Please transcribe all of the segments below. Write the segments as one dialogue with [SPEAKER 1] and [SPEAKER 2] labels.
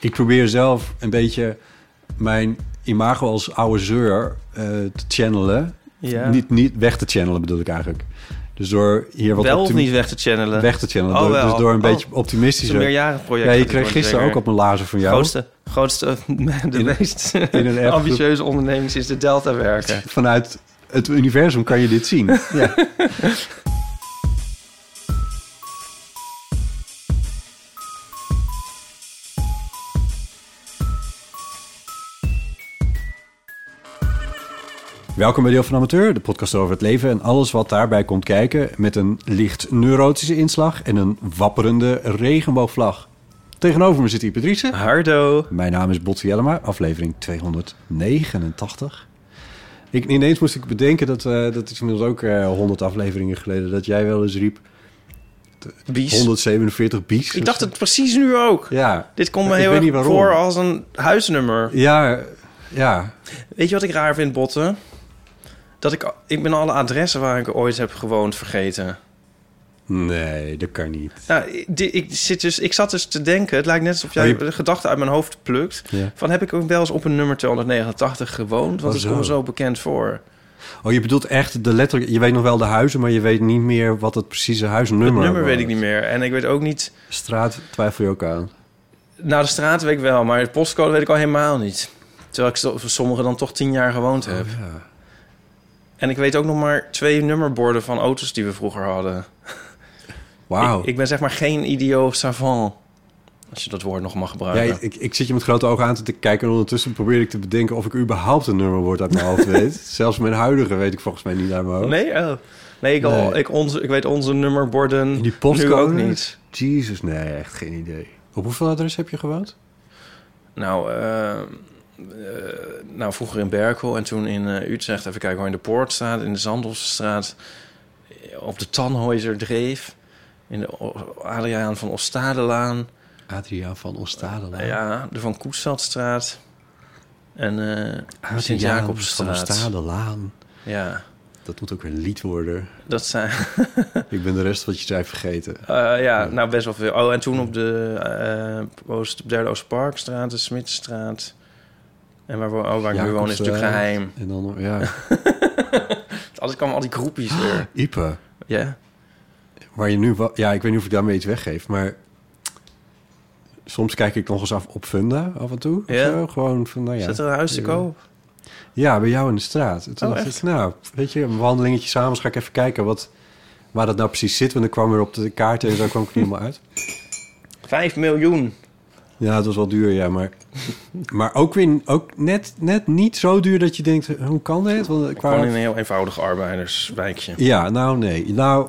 [SPEAKER 1] Ik probeer zelf een beetje mijn imago als oude zeur eh, te channelen.
[SPEAKER 2] Ja.
[SPEAKER 1] Niet, niet weg te channelen bedoel ik eigenlijk. Dus door hier wat
[SPEAKER 2] Wel of
[SPEAKER 1] optimi-
[SPEAKER 2] niet weg te channelen.
[SPEAKER 1] weg te channelen.
[SPEAKER 2] Oh,
[SPEAKER 1] door,
[SPEAKER 2] wel.
[SPEAKER 1] dus door een
[SPEAKER 2] Oh,
[SPEAKER 1] beetje
[SPEAKER 2] Het is
[SPEAKER 1] optimistisch.
[SPEAKER 2] een meerjarig project.
[SPEAKER 1] Ja, je
[SPEAKER 2] dat
[SPEAKER 1] kreeg
[SPEAKER 2] wordt
[SPEAKER 1] gisteren
[SPEAKER 2] zeker.
[SPEAKER 1] ook op een lazer van jou.
[SPEAKER 2] Grootste, grootste, de
[SPEAKER 1] In-
[SPEAKER 2] meest
[SPEAKER 1] in een appgroep.
[SPEAKER 2] ambitieuze onderneming sinds de Delta werken.
[SPEAKER 1] Vanuit het universum kan je dit zien. ja. Welkom bij Deel van Amateur, de podcast over het leven en alles wat daarbij komt kijken. Met een licht neurotische inslag en een wapperende regenboogvlag. Tegenover me zit Ipe Driessen.
[SPEAKER 2] Hardo.
[SPEAKER 1] Mijn naam is Botte Jellema, aflevering 289. Ik, ineens moest ik bedenken, dat, eh, dat is inmiddels ook eh 100 afleveringen geleden... dat jij wel eens riep
[SPEAKER 2] Bies.
[SPEAKER 1] 147 bies.
[SPEAKER 2] Ik dacht het precies nu ook.
[SPEAKER 1] Ja,
[SPEAKER 2] Dit komt me
[SPEAKER 1] Ik
[SPEAKER 2] heel
[SPEAKER 1] weet niet
[SPEAKER 2] erg
[SPEAKER 1] waarom.
[SPEAKER 2] voor als een huisnummer.
[SPEAKER 1] ja, ja.
[SPEAKER 2] Weet je wat ik raar vind, Botten? Dat ik, ik ben alle adressen waar ik ooit heb gewoond vergeten.
[SPEAKER 1] Nee, dat kan niet.
[SPEAKER 2] Nou, ik- di- ik, zit dus, ik zat dus te denken, het lijkt net alsof jij
[SPEAKER 1] Oh, je-
[SPEAKER 2] de gedachte uit mijn hoofd plukt.
[SPEAKER 1] Ja.
[SPEAKER 2] Van heb ik ook wel eens op een nummer 289 gewoond? Want
[SPEAKER 1] Oh,
[SPEAKER 2] het komt me
[SPEAKER 1] zo.
[SPEAKER 2] zo bekend voor.
[SPEAKER 1] Oh, je bedoelt echt de letter... Je weet nog wel de huizen, maar je weet niet meer wat het precieze huisnummer
[SPEAKER 2] Het nummer weet
[SPEAKER 1] was.
[SPEAKER 2] ik niet meer. En ik weet ook niet...
[SPEAKER 1] Straat twijfel je ook aan.
[SPEAKER 2] Nou, de straat weet ik wel, maar de postcode weet ik al helemaal niet. Terwijl ik zo- voor sommige dan toch tien jaar gewoond heb.
[SPEAKER 1] Ja.
[SPEAKER 2] En ik weet ook nog maar twee nummerborden van auto's die we vroeger hadden.
[SPEAKER 1] Wauw.
[SPEAKER 2] Ik, ik ben zeg maar geen idioot savant. Als je dat woord nog mag
[SPEAKER 1] Ja,
[SPEAKER 2] gebruiken.
[SPEAKER 1] ik, ik- ik zit je met grote ogen aan te kijken en ondertussen probeer ik te bedenken of ik überhaupt een nummerwoord uit mijn hoofd weet. Zelfs mijn huidige weet ik volgens mij niet uit mijn hoofd.
[SPEAKER 2] Nee, oh. nee, ik, al,
[SPEAKER 1] Nee.
[SPEAKER 2] ik, onze, ik weet onze nummerborden
[SPEAKER 1] En die
[SPEAKER 2] nu ook
[SPEAKER 1] postcode
[SPEAKER 2] niet.
[SPEAKER 1] Jezus, nee, echt geen idee. Op hoeveel adres heb je gewoond?
[SPEAKER 2] Nou, eh, eh, nou, vroeger in Berkel en toen in eh, Utrecht. Even kijken, waar in de Poortstraat, in de Zandhofstraat, eh, op de Tannhäuser-dreef, in de O- Adriaan van Ostadelaan,
[SPEAKER 1] Adriaan van Ostadela.
[SPEAKER 2] nou ja, de Van Koestveldstraat en eh
[SPEAKER 1] Adriaan van
[SPEAKER 2] Sint-Jacobsstraat.
[SPEAKER 1] Ostadelaan.
[SPEAKER 2] Ja,
[SPEAKER 1] Dat moet ook weer een lied worden.
[SPEAKER 2] dat zijn...
[SPEAKER 1] Ik ben de rest wat je zei vergeten.
[SPEAKER 2] Eh, ja, nou best wel veel. Oh, en toen op de eh Oost, op derde Oostparkstraat, de Smitstraat. En waar, we, oh, waar ik nu woon is natuurlijk
[SPEAKER 1] Jacobsstraat.
[SPEAKER 2] geheim.
[SPEAKER 1] En dan, ja,
[SPEAKER 2] Altijd kwamen al die groepjes weer.
[SPEAKER 1] Ipe.
[SPEAKER 2] Ah, Ja?
[SPEAKER 1] Waar je nu... wa- Ja, ik weet niet of ik daarmee iets weggeef, maar... Soms kijk ik nog eens af op Funda, af en toe. of
[SPEAKER 2] Ja.
[SPEAKER 1] zo. Gewoon van, nou ja.
[SPEAKER 2] Zit er een huis te koop?
[SPEAKER 1] Ja, bij jou in de straat. En Toen
[SPEAKER 2] Oh,
[SPEAKER 1] dacht
[SPEAKER 2] echt?
[SPEAKER 1] ik, nou, weet je, een wandelingetje samen. Dus ga ik even kijken wat, waar dat nou precies zit. Want ik kwam weer op de kaart en zo kwam ik er helemaal uit.
[SPEAKER 2] Vijf miljoen.
[SPEAKER 1] Ja, het was wel duur, ja. Maar, maar ook weer ook net, net niet zo duur dat je denkt, hoe kan dit? Want
[SPEAKER 2] Ik woon in
[SPEAKER 1] qua,
[SPEAKER 2] een heel eenvoudig arbeiderswijkje.
[SPEAKER 1] ja, nou nee. Nou,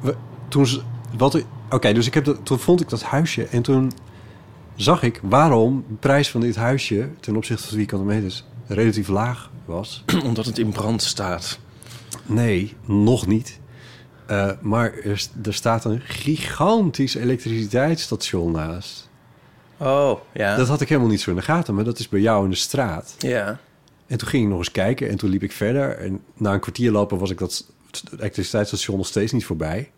[SPEAKER 1] we- toen ze, wat... Oké, dus ik heb dat, toen vond ik dat huisje en toen zag ik waarom de prijs van dit huisje... ten opzichte van de vierkante meters relatief laag was.
[SPEAKER 2] Omdat het in brand staat.
[SPEAKER 1] Nee, nog niet. Eh, maar er, s- er staat een gigantisch elektriciteitsstation naast.
[SPEAKER 2] Oh, ja.
[SPEAKER 1] Dat had ik helemaal niet zo in de gaten, maar dat is bij jou in de straat.
[SPEAKER 2] Ja.
[SPEAKER 1] En toen ging ik nog eens kijken en toen liep ik verder. En na een kwartier lopen was ik dat s- het elektriciteitsstation nog steeds niet voorbij.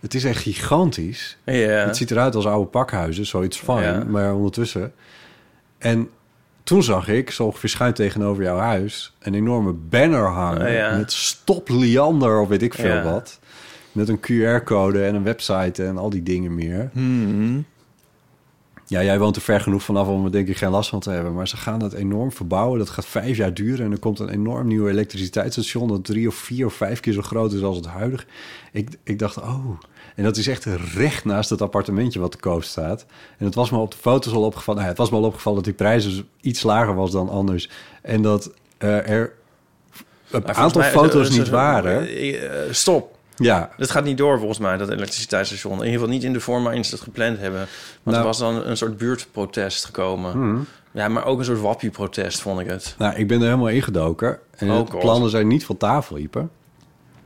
[SPEAKER 1] Het is echt gigantisch.
[SPEAKER 2] Ja.
[SPEAKER 1] Het ziet eruit als oude pakhuizen, zoiets fijn,
[SPEAKER 2] Ja.
[SPEAKER 1] maar ondertussen. En toen zag ik, zo ongeveer schuin tegenover jouw huis, een enorme banner hangen
[SPEAKER 2] Oh, Ja.
[SPEAKER 1] met stop Liander of weet ik veel
[SPEAKER 2] Ja.
[SPEAKER 1] wat. Met een QR-code en een website en al die dingen meer. Ja, jij woont er ver genoeg vanaf om er denk ik geen last van te hebben. Maar ze gaan dat enorm verbouwen. Dat gaat vijf jaar duren. En er komt een enorm nieuw elektriciteitsstation... dat drie of vier of vijf keer zo groot is als het huidige. Ik, ik dacht, oh... En dat is echt recht naast het appartementje wat te koop staat. En het was me op de foto's al opgevallen... Nou, het was me al opgevallen dat die prijs dus iets lager was dan anders. En dat eh, er een
[SPEAKER 2] Maar volgens
[SPEAKER 1] aantal
[SPEAKER 2] mij-
[SPEAKER 1] foto's
[SPEAKER 2] eh,
[SPEAKER 1] niet
[SPEAKER 2] eh,
[SPEAKER 1] waren.
[SPEAKER 2] eh, eh, Stop.
[SPEAKER 1] Ja,
[SPEAKER 2] Dat gaat niet door volgens mij, dat elektriciteitsstation. In ieder geval niet in de vorm waarin ze het gepland hebben. Want
[SPEAKER 1] Nou. Mhm.
[SPEAKER 2] er was dan een soort buurtprotest gekomen. Ja, maar ook een soort wappieprotest vond ik het.
[SPEAKER 1] nou, ik ben er helemaal ingedoken. En
[SPEAKER 2] Oh,
[SPEAKER 1] de
[SPEAKER 2] God.
[SPEAKER 1] plannen zijn niet van tafel, Ieper.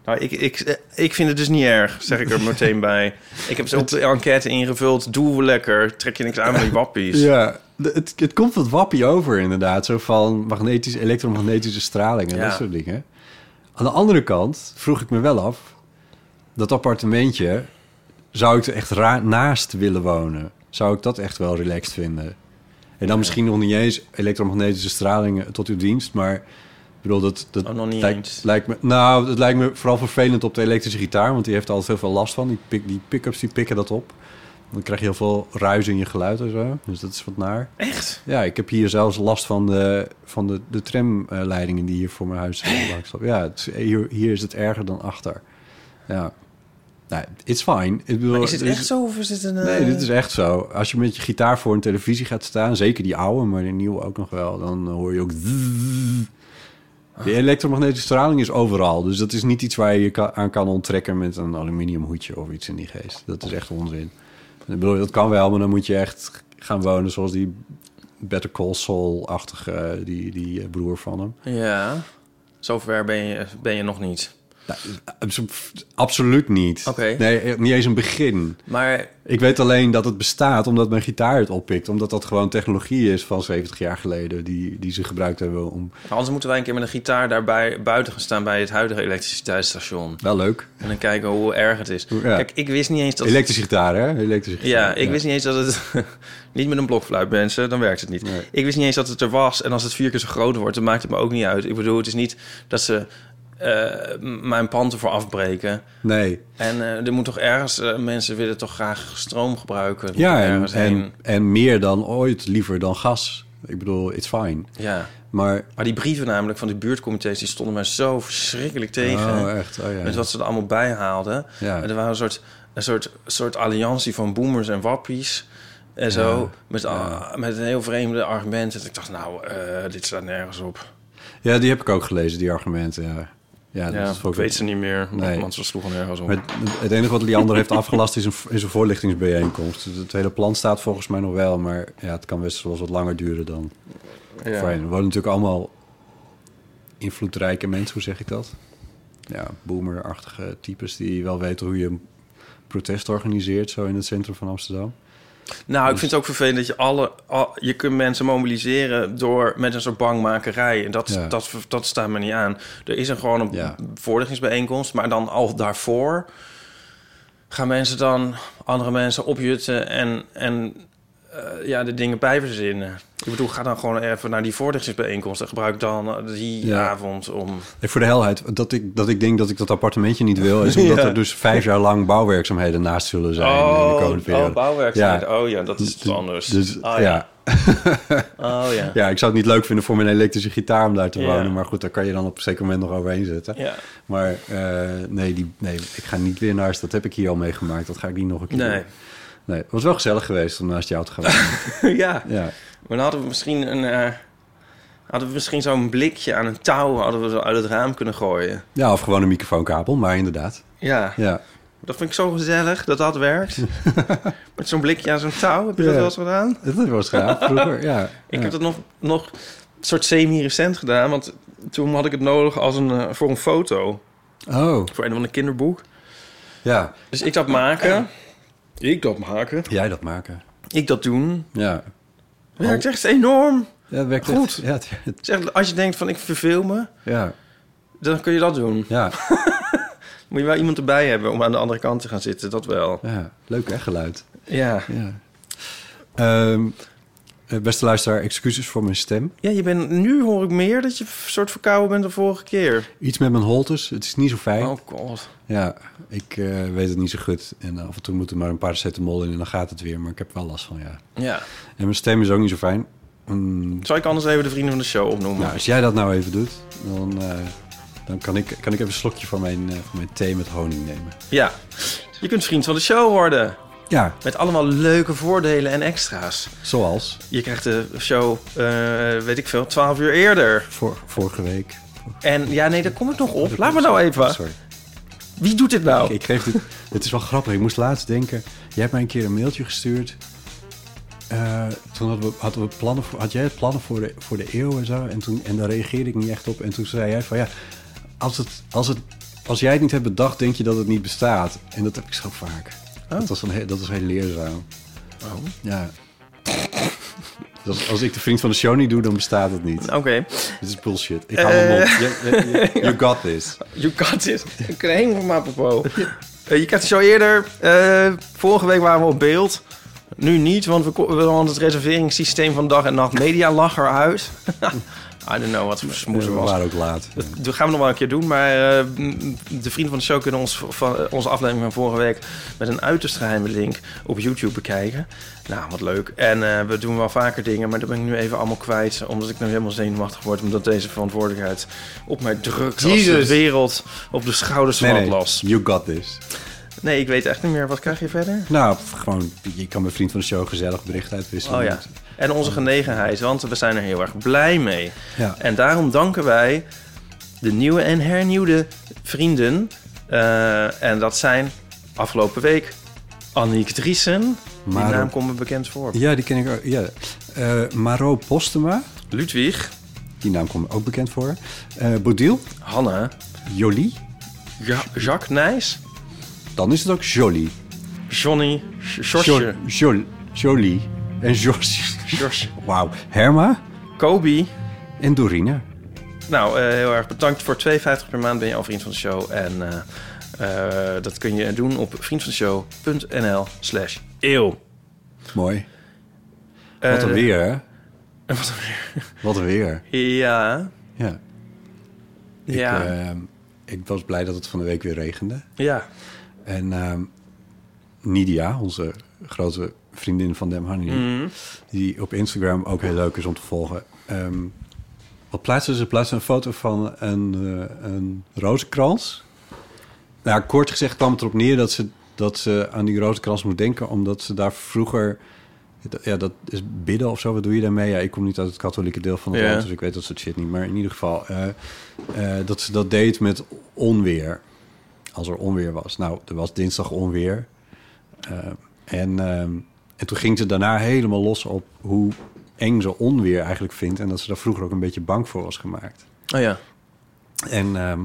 [SPEAKER 2] Nou, ik, ik, eh, ik vind het dus niet erg, zeg ik er meteen bij. Ik heb zo op de enquête ingevuld. Doe lekker, trek je niks aan met die wappies.
[SPEAKER 1] Ja, de- het, het komt wat wappie over inderdaad. Zo van magnetische, elektromagnetische straling en
[SPEAKER 2] Ja.
[SPEAKER 1] dat soort dingen. Aan de andere kant vroeg ik me wel af... dat appartementje, zou ik er echt ra- naast willen wonen? Zou ik dat echt wel relaxed vinden? En dan misschien nog niet eens elektromagnetische stralingen tot uw dienst, maar... Ik bedoel, dat, dat
[SPEAKER 2] Oh, nog niet eens.
[SPEAKER 1] lijkt, lijkt me, nou, dat lijkt me vooral vervelend op de elektrische gitaar, want die heeft er altijd heel veel last van. Die, pick, die pick-ups die pikken dat op. Dan krijg je heel veel ruis in je geluid en zo. Dus dat is wat naar.
[SPEAKER 2] Echt?
[SPEAKER 1] Ja, ik heb hier zelfs last van de, van de, de tramleidingen die hier voor mijn huis zijn. langs lopen. Ja, het is- eh, hier, hier is het erger dan achter. Ja, nou, it's fine. Ik bedoel,
[SPEAKER 2] Maar is het
[SPEAKER 1] er
[SPEAKER 2] echt zo of is het een... eh,
[SPEAKER 1] Nee, dit is echt zo. Als je met je gitaar voor een televisie gaat staan, zeker die oude, maar de nieuwe ook nog wel, dan eh, hoor je ook. zzzz.
[SPEAKER 2] Ah.
[SPEAKER 1] De elektromagnetische straling is overal, dus dat is niet iets waar je je ka- aan kan onttrekken met een aluminium hoedje of iets in die geest. Dat is echt onzin. Ik bedoel, dat kan wel, maar dan moet je echt gaan wonen zoals die Better Call Saul-achtige, die, die eh, broer van hem.
[SPEAKER 2] Ja, zover ben je, ben je nog niet.
[SPEAKER 1] Nou, abso- absoluut niet.
[SPEAKER 2] Oké.
[SPEAKER 1] Nee, eh, niet eens een begin.
[SPEAKER 2] Maar
[SPEAKER 1] Ik weet alleen dat het bestaat omdat mijn gitaar het oppikt. Omdat dat gewoon technologie is van 70 jaar geleden die, die ze gebruikt hebben om...
[SPEAKER 2] anders moeten wij een keer met een gitaar daarbij buiten gaan staan... bij het huidige elektriciteitsstation.
[SPEAKER 1] Wel leuk.
[SPEAKER 2] En dan kijken hoe erg het is.
[SPEAKER 1] Ja.
[SPEAKER 2] Kijk, ik wist niet eens dat...
[SPEAKER 1] Elektrische gitaar, hè? Elektrische gitaar.
[SPEAKER 2] Ja, ik wist niet eens dat het... niet met een blokfluit, mensen, dan werkt het niet.
[SPEAKER 1] Nee.
[SPEAKER 2] Ik wist niet eens dat het er was. En als het vier keer zo groot wordt, dan maakt het me ook niet uit. Ik bedoel, het is niet dat ze eh, m- mijn pand ervoor afbreken.
[SPEAKER 1] Nee.
[SPEAKER 2] En eh, er moet toch ergens... eh, mensen willen toch graag stroom gebruiken.
[SPEAKER 1] Ja, en,
[SPEAKER 2] ergens heen.
[SPEAKER 1] en, en meer dan ooit liever dan gas. Ik bedoel, it's fine.
[SPEAKER 2] Ja.
[SPEAKER 1] Maar...
[SPEAKER 2] Maar die brieven namelijk van die buurtcomité's... die stonden mij zo verschrikkelijk tegen.
[SPEAKER 1] Oh, echt. Oh, ja.
[SPEAKER 2] Met wat ze er allemaal bij haalden.
[SPEAKER 1] Ja.
[SPEAKER 2] En er waren een soort, een soort, soort alliantie van boomers en wappies. En zo, met, al- met een heel vreemde argumenten. Dat ik dacht, nou, eh, dit staat nergens op.
[SPEAKER 1] ja, die heb ik ook gelezen, die argumenten. Ja, ja,
[SPEAKER 2] Ja,
[SPEAKER 1] dat is
[SPEAKER 2] ik
[SPEAKER 1] ook-
[SPEAKER 2] weet ze niet meer,
[SPEAKER 1] Nee.
[SPEAKER 2] want ze sloegen nergens op.
[SPEAKER 1] Maar het- het enige wat Liander heeft afgelast is een, is een voorlichtingsbijeenkomst. Het hele plan staat volgens mij nog wel, maar ja, het kan best wel eens wat langer duren dan.
[SPEAKER 2] Ja.
[SPEAKER 1] Fijn. We wonen natuurlijk allemaal invloedrijke mensen, hoe zeg ik dat? Ja, boomerachtige types die wel weten hoe je een protest organiseert, zo in het centrum van Amsterdam.
[SPEAKER 2] Nou, ik vind het ook vervelend dat je alle... al- je kunt mensen mobiliseren door, met een soort bangmakerij. En dat,
[SPEAKER 1] Ja.
[SPEAKER 2] dat, dat staat me niet aan. Er is een, gewoon een
[SPEAKER 1] Ja.
[SPEAKER 2] voorlichtingsbijeenkomst. Maar dan al daarvoor gaan mensen dan andere mensen opjutten... en, en eh, ja, de dingen bijverzinnen. Ik bedoel, ga dan gewoon even naar die voorlichtingsbijeenkomst... en gebruik dan eh, die
[SPEAKER 1] Ja.
[SPEAKER 2] avond om...
[SPEAKER 1] En voor de helheid, dat ik, dat ik denk dat ik dat appartementje niet wil, is omdat er dus vijf jaar lang bouwwerkzaamheden naast zullen zijn in de komende periode.
[SPEAKER 2] oh, bouwwerkzaamheden.
[SPEAKER 1] Ja.
[SPEAKER 2] Oh ja, dat is iets anders.
[SPEAKER 1] Dus
[SPEAKER 2] oh,
[SPEAKER 1] ja.
[SPEAKER 2] ja. Oh ja.
[SPEAKER 1] Ja, ik zou het niet leuk vinden voor mijn elektrische gitaar om daar te
[SPEAKER 2] Ja.
[SPEAKER 1] wonen. Maar goed, daar kan je dan op een zeker moment nog overheen zetten.
[SPEAKER 2] Ja.
[SPEAKER 1] Maar eh, nee, die, nee, ik ga niet weer naast. Dat heb ik hier al meegemaakt. Dat ga ik niet nog een keer
[SPEAKER 2] Nee.
[SPEAKER 1] doen. Nee, het was wel gezellig geweest om naast jou te gaan wonen.
[SPEAKER 2] ja.
[SPEAKER 1] ja.
[SPEAKER 2] Maar dan hadden we misschien een... eh, hadden we misschien zo'n blikje aan een touw... hadden we zo uit het raam kunnen gooien.
[SPEAKER 1] ja, of gewoon een microfoonkabel. Maar inderdaad.
[SPEAKER 2] Ja,
[SPEAKER 1] Ja.
[SPEAKER 2] dat vind ik zo gezellig dat dat werkt. Met zo'n blikje aan zo'n touw. Heb je dat
[SPEAKER 1] Ja.
[SPEAKER 2] wel eens gedaan?
[SPEAKER 1] Dat was gaaf vroeger. Ja.
[SPEAKER 2] Ik
[SPEAKER 1] ja.
[SPEAKER 2] heb dat nog, nog een soort semi-recent gedaan. Want toen had ik het nodig als een, eh, voor een foto.
[SPEAKER 1] Oh,
[SPEAKER 2] Voor een van de kinderboek.
[SPEAKER 1] ja.
[SPEAKER 2] Dus ik dat maken. Ik dat maken. Oh.
[SPEAKER 1] Jij dat maken.
[SPEAKER 2] Ik dat doen.
[SPEAKER 1] Ja.
[SPEAKER 2] Werkt echt enorm.
[SPEAKER 1] Ja, dat werkt
[SPEAKER 2] Goed.
[SPEAKER 1] echt. Ja, het- het-
[SPEAKER 2] Zeg, als je denkt van ik verveel me,
[SPEAKER 1] ja.
[SPEAKER 2] dan kun je dat doen.
[SPEAKER 1] Ja.
[SPEAKER 2] Moet je wel iemand erbij hebben om aan de andere kant te gaan zitten. Dat wel.
[SPEAKER 1] ja. Leuk echt geluid.
[SPEAKER 2] Ja.
[SPEAKER 1] Ja. Ehm, eh, beste luisteraar, excuses voor mijn stem.
[SPEAKER 2] Ja, je bent, nu hoor ik meer dat je een soort verkouden bent dan vorige keer.
[SPEAKER 1] Iets met mijn holtes. Het is niet zo fijn.
[SPEAKER 2] Oh god.
[SPEAKER 1] Ja, ik eh, weet het niet zo goed. En eh, af en toe moet er maar een paracetamol in en dan gaat het weer. Maar ik heb wel last van, ja.
[SPEAKER 2] Ja.
[SPEAKER 1] En mijn stem is ook niet zo fijn. Mm,
[SPEAKER 2] Zal ik anders even de vrienden van de show opnoemen?
[SPEAKER 1] nou, als jij dat nou even doet, dan, eh, dan kan, ik, kan ik even een slokje van mijn, eh, van mijn thee met honing nemen.
[SPEAKER 2] Ja. Je kunt vriend van de show worden.
[SPEAKER 1] Ja,
[SPEAKER 2] Met allemaal leuke voordelen en extra's.
[SPEAKER 1] zoals
[SPEAKER 2] Je krijgt de show, eh, weet ik veel, 12 uur eerder.
[SPEAKER 1] vor- vorige week.
[SPEAKER 2] En ja, nee, daar kom ik nog op. Laat me nou even.
[SPEAKER 1] Sorry.
[SPEAKER 2] Wie doet dit nou?
[SPEAKER 1] Ik, ik geef dit. Het is wel grappig. Ik moest laatst denken. Jij hebt mij een keer een mailtje gestuurd. Eh, toen hadden we, hadden we plannen voor, had jij het plannen voor de, voor de eeuw en zo. En, toen, en daar reageerde ik niet echt op. En toen zei jij van ja, als, het, als, het, als jij het niet hebt bedacht, denk je dat het niet bestaat. En dat heb ik zo vaak.
[SPEAKER 2] Oh.
[SPEAKER 1] Dat, was een, he- dat was heel leerzaam. Ja. Dus als ik de vriend van de show niet doe, dan bestaat het niet.
[SPEAKER 2] Oké,
[SPEAKER 1] Dit is bullshit. Ik hou hem op.
[SPEAKER 2] Eh.
[SPEAKER 1] you got this.
[SPEAKER 2] you got this. Ik ben helemaal van apropos. Eh, Je kent het zo eerder. Eh, vorige week waren we op beeld. Nu niet, want, we, ko- want het reserveringssysteem van dag en nacht media lag eruit. I don't know wat voor smoes
[SPEAKER 1] We
[SPEAKER 2] er was.
[SPEAKER 1] waren ook laat. Ja.
[SPEAKER 2] Dat gaan we nog wel een keer doen, maar eh, m- de vrienden van de show kunnen ons, van, eh, onze aflevering van vorige week met een uiterst geheime link op YouTube bekijken. Nou, wat leuk. En eh, we doen wel vaker dingen, maar dat ben ik nu even allemaal kwijt, omdat ik nu helemaal zenuwachtig word, omdat deze verantwoordelijkheid op mij drukt als de
[SPEAKER 1] Jezus.
[SPEAKER 2] wereld op de schouders van
[SPEAKER 1] Nee,
[SPEAKER 2] het
[SPEAKER 1] nee,
[SPEAKER 2] las.
[SPEAKER 1] You got this.
[SPEAKER 2] Nee, ik weet echt niet meer. Wat krijg je verder?
[SPEAKER 1] Nou, gewoon, je kan mijn vriend van de show gezellig bericht uitwisselen.
[SPEAKER 2] Oh ja. En onze genegenheid, want we zijn er heel erg blij mee.
[SPEAKER 1] Ja.
[SPEAKER 2] En daarom danken wij de nieuwe en hernieuwde vrienden. Eh, en dat zijn afgelopen week Annick Driessen.
[SPEAKER 1] Maro.
[SPEAKER 2] Die naam komt me bekend voor.
[SPEAKER 1] Ja, die ken ik ook. Ja. Eh, Maro Postema,
[SPEAKER 2] Ludwig,
[SPEAKER 1] die naam komt me ook bekend voor. Eh Bodil,
[SPEAKER 2] Hanna,
[SPEAKER 1] Jolie,
[SPEAKER 2] ja Jacques Nijs,
[SPEAKER 1] dan is het ook Jolie.
[SPEAKER 2] Johnny, J- Josje,
[SPEAKER 1] Jo- Jol- Jolie en George.
[SPEAKER 2] Jos,
[SPEAKER 1] Wauw. Herma
[SPEAKER 2] Kobe.
[SPEAKER 1] en Dorine.
[SPEAKER 2] Nou, eh, heel erg bedankt voor 2,50 per maand ben je al vriend van de show. En eh, eh, dat kun je doen op vriendvandeshow.nl slash eeuw.
[SPEAKER 1] Mooi. Wat een
[SPEAKER 2] Eh,
[SPEAKER 1] weer, hè?
[SPEAKER 2] En wat dan weer?
[SPEAKER 1] Wat een weer.
[SPEAKER 2] Ja.
[SPEAKER 1] Ja.
[SPEAKER 2] Ja.
[SPEAKER 1] Ik, ehm, ik was blij dat het van de week weer regende.
[SPEAKER 2] ja.
[SPEAKER 1] En ehm, Nidia, onze grote vriendin van Dem Honey, die op Instagram ook heel leuk is om te volgen. Ehm, wat plaatsen ze? Ze plaatsen een foto van een, eh, een rozenkrans. Nou, kort gezegd kwam het erop neer dat ze, dat ze aan die rozenkrans moet denken, omdat ze daar vroeger. Ja, dat is bidden of zo. Wat doe je daarmee? Ja, ik kom niet uit het katholieke deel van het
[SPEAKER 2] Ja.
[SPEAKER 1] land, dus ik weet dat soort shit niet. Maar in ieder geval, eh, eh, dat ze dat deed met onweer. Als er onweer was. Nou, er was dinsdag onweer. Eh, en, ehm, en toen ging ze daarna helemaal los op hoe eng ze onweer eigenlijk vindt. En dat ze daar vroeger ook een beetje bang voor was gemaakt.
[SPEAKER 2] Oh ja.
[SPEAKER 1] En ehm,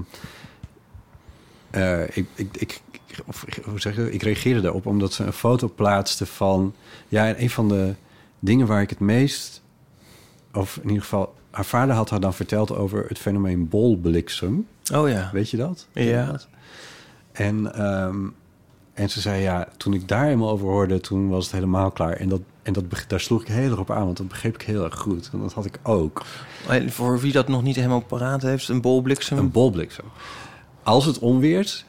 [SPEAKER 1] eh, ik, ik, ik, of, hoe zeg je, dat? ik reageerde daarop omdat ze een foto plaatste van... Ja, en een van de dingen waar ik het meest... Of in ieder geval, haar vader had haar dan verteld over het fenomeen bolbliksem.
[SPEAKER 2] Oh ja.
[SPEAKER 1] Weet je dat?
[SPEAKER 2] Ja.
[SPEAKER 1] Inderdaad. En, ehm, en ze zei, ja, toen ik daar helemaal over hoorde, toen was het helemaal klaar. En, dat, en dat, beg- daar sloeg ik heel erg op aan, want dat begreep ik heel erg goed. En dat had ik ook.
[SPEAKER 2] En Voor wie dat nog niet helemaal paraat heeft, een bolbliksem.
[SPEAKER 1] Een bolbliksem. Als het onweert,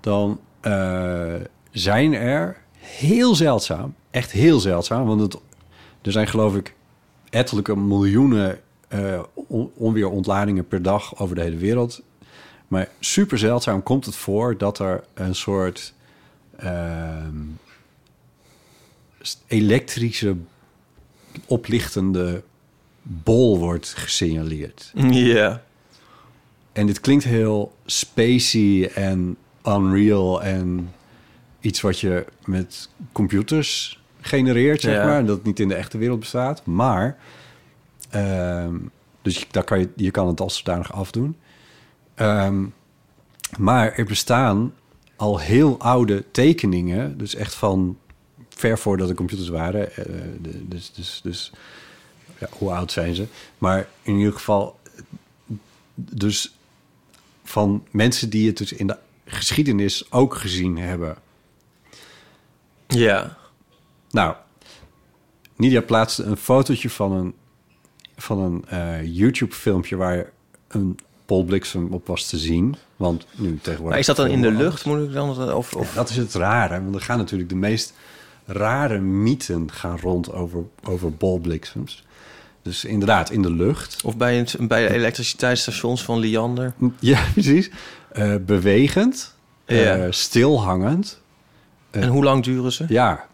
[SPEAKER 1] dan eh, zijn er heel zeldzaam, echt heel zeldzaam, want het, er zijn geloof ik ettelijke miljoenen eh, on- onweerontladingen per dag over de hele wereld. Maar super zeldzaam komt het voor dat er een soort ehm, st- elektrische oplichtende bol wordt gesignaleerd.
[SPEAKER 2] Mm. Ja.
[SPEAKER 1] En dit klinkt heel spacey en unreal en iets wat je met computers genereert, zeg
[SPEAKER 2] Ja.
[SPEAKER 1] maar. En dat niet in de echte wereld bestaat. Maar, ehm, dus je, daar kan je, je kan het als zodanig afdoen. Ehm, maar er bestaan al heel oude tekeningen, dus echt van ver voordat de computers waren. eh, de- dus dus, dus ja, hoe oud zijn ze? Maar in ieder geval, dus van mensen die het dus in de geschiedenis ook gezien hebben.
[SPEAKER 2] Ja.
[SPEAKER 1] Nou, Nidia plaatste een fotootje van een, van een eh, YouTube-filmpje waar een polbliksem op was te zien. Want nu tegenwoordig...
[SPEAKER 2] Maar is dat dan in de lucht? Moet ik dan... Of,
[SPEAKER 1] Ja,
[SPEAKER 2] of...
[SPEAKER 1] dat is het rare, want er gaan natuurlijk de meest rare mythen gaan rond over, over bolbliksems. Dus inderdaad, in de lucht.
[SPEAKER 2] Of bij, het, bij de elektriciteitsstations van Liander.
[SPEAKER 1] Ja, precies. Eh, bewegend,
[SPEAKER 2] Ja.
[SPEAKER 1] eh, stilhangend.
[SPEAKER 2] En hoe lang duren ze?
[SPEAKER 1] Eh. Ja,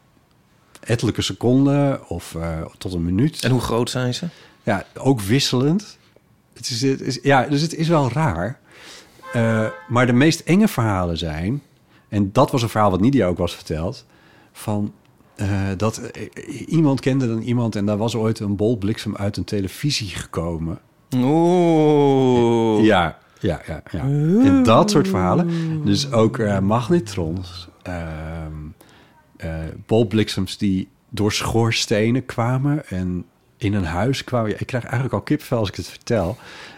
[SPEAKER 1] ettelijke seconden of eh, tot een minuut.
[SPEAKER 2] En hoe groot zijn ze?
[SPEAKER 1] Ja, ook wisselend. Het is, het is, ja, dus het is wel raar. Eh, maar de meest enge verhalen zijn, en dat was een verhaal wat Nidia ook was verteld, van eh, dat eh, iemand kende dan iemand en daar was ooit een bol bliksem uit een televisie gekomen.
[SPEAKER 2] Oeh.
[SPEAKER 1] Ja, ja, ja. ja. En dat soort verhalen. Dus ook eh, magnetrons, ehm, eh, bolbliksems die door schoorstenen kwamen en in een huis kwamen. Ja, ik krijg eigenlijk al kipvel als ik het vertel.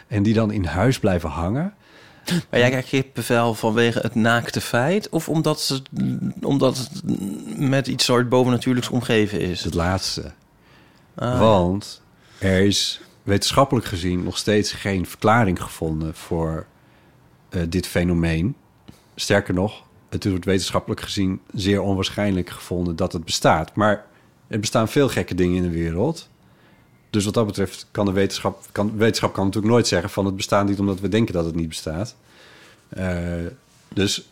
[SPEAKER 1] En die dan in huis blijven hangen.
[SPEAKER 2] Maar jij krijgt kippenvel vanwege het naakte feit... of omdat, ze, omdat het met iets soort bovennatuurlijks omgeven
[SPEAKER 1] is
[SPEAKER 2] is?
[SPEAKER 1] het laatste.
[SPEAKER 2] Ah.
[SPEAKER 1] Want er is wetenschappelijk gezien nog steeds geen verklaring gevonden voor eh, dit fenomeen. Sterker nog, het wordt wetenschappelijk gezien zeer onwaarschijnlijk gevonden dat het bestaat. Maar er bestaan veel gekke dingen in de wereld. Dus wat dat betreft kan de wetenschap, kan, wetenschap kan natuurlijk nooit zeggen van het bestaat niet omdat we denken dat het niet bestaat. Eh, dus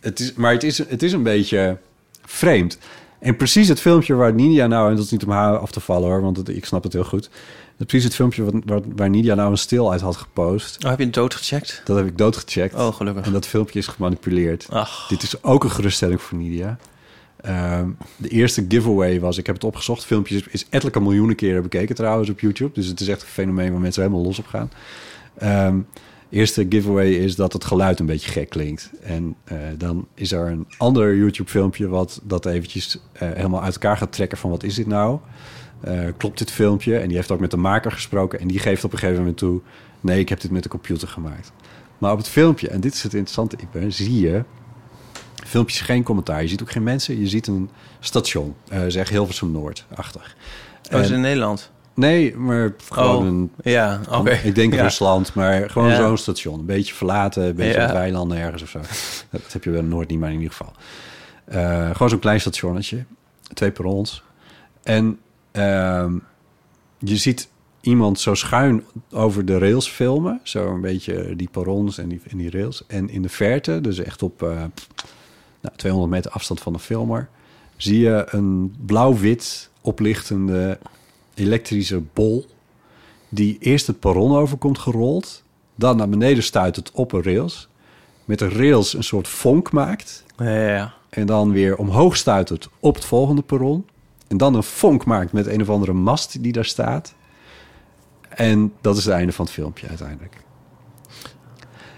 [SPEAKER 1] het is, maar het is, het is een beetje vreemd. En precies het filmpje waar Nidia nou, en dat is niet om haar af te vallen hoor, want het- ik snap het heel goed. Precies het filmpje wat, waar, waar Nidia nou een stil uit had gepost.
[SPEAKER 2] Oh, heb je het doodgecheckt?
[SPEAKER 1] Dat heb ik doodgecheckt.
[SPEAKER 2] Oh, gelukkig. Oh.
[SPEAKER 1] En dat filmpje is gemanipuleerd.
[SPEAKER 2] Ach.
[SPEAKER 1] Dit is ook een geruststelling voor Nidia. Ehm, de eerste giveaway was, ik heb het opgezocht, filmpje is, is ettelijke miljoenen keren bekeken trouwens op YouTube. Dus het is echt een fenomeen waar mensen helemaal los op gaan. Ehm, eerste giveaway is dat het geluid een beetje gek klinkt. En eh, dan is er een ander YouTube filmpje wat dat eventjes eh, helemaal uit elkaar gaat trekken van wat is dit nou? Eh, klopt dit filmpje? En die heeft ook met de maker gesproken en die geeft op een gegeven moment toe, nee, ik heb dit met de computer gemaakt. Maar op het filmpje, en dit is het interessante, Ipe, zie je filmpjes geen commentaar. Je ziet ook geen mensen. Je ziet een station, eh, zeg Hilversum Noord-achtig.
[SPEAKER 2] Oh, is
[SPEAKER 1] En-
[SPEAKER 2] in Nederland?
[SPEAKER 1] Nee, maar gewoon een...
[SPEAKER 2] oh, ja, oké.
[SPEAKER 1] Ik denk
[SPEAKER 2] ja.
[SPEAKER 1] Rusland, maar gewoon
[SPEAKER 2] Ja.
[SPEAKER 1] zo'n station. Een beetje verlaten, een beetje
[SPEAKER 2] Ja.
[SPEAKER 1] op weilanden ergens of zo. Dat heb je wel in Noord niet, maar in ieder geval. Eh, gewoon zo'n klein stationnetje. Twee perrons. En ehm, je ziet iemand zo schuin over de rails filmen. Zo een beetje die perrons en die, en die rails. En in de verte, dus echt op eh, nou, 200 meter afstand van de filmer... zie je een blauw-wit oplichtende elektrische bol... die eerst het perron overkomt gerold... dan naar beneden stuit het op een rails... met de rails een soort vonk maakt...
[SPEAKER 2] Ja, ja, ja.
[SPEAKER 1] En dan weer omhoog stuitert op het volgende perron. En dan een vonk maakt met een of andere mast die daar staat. En dat is het einde van het filmpje uiteindelijk.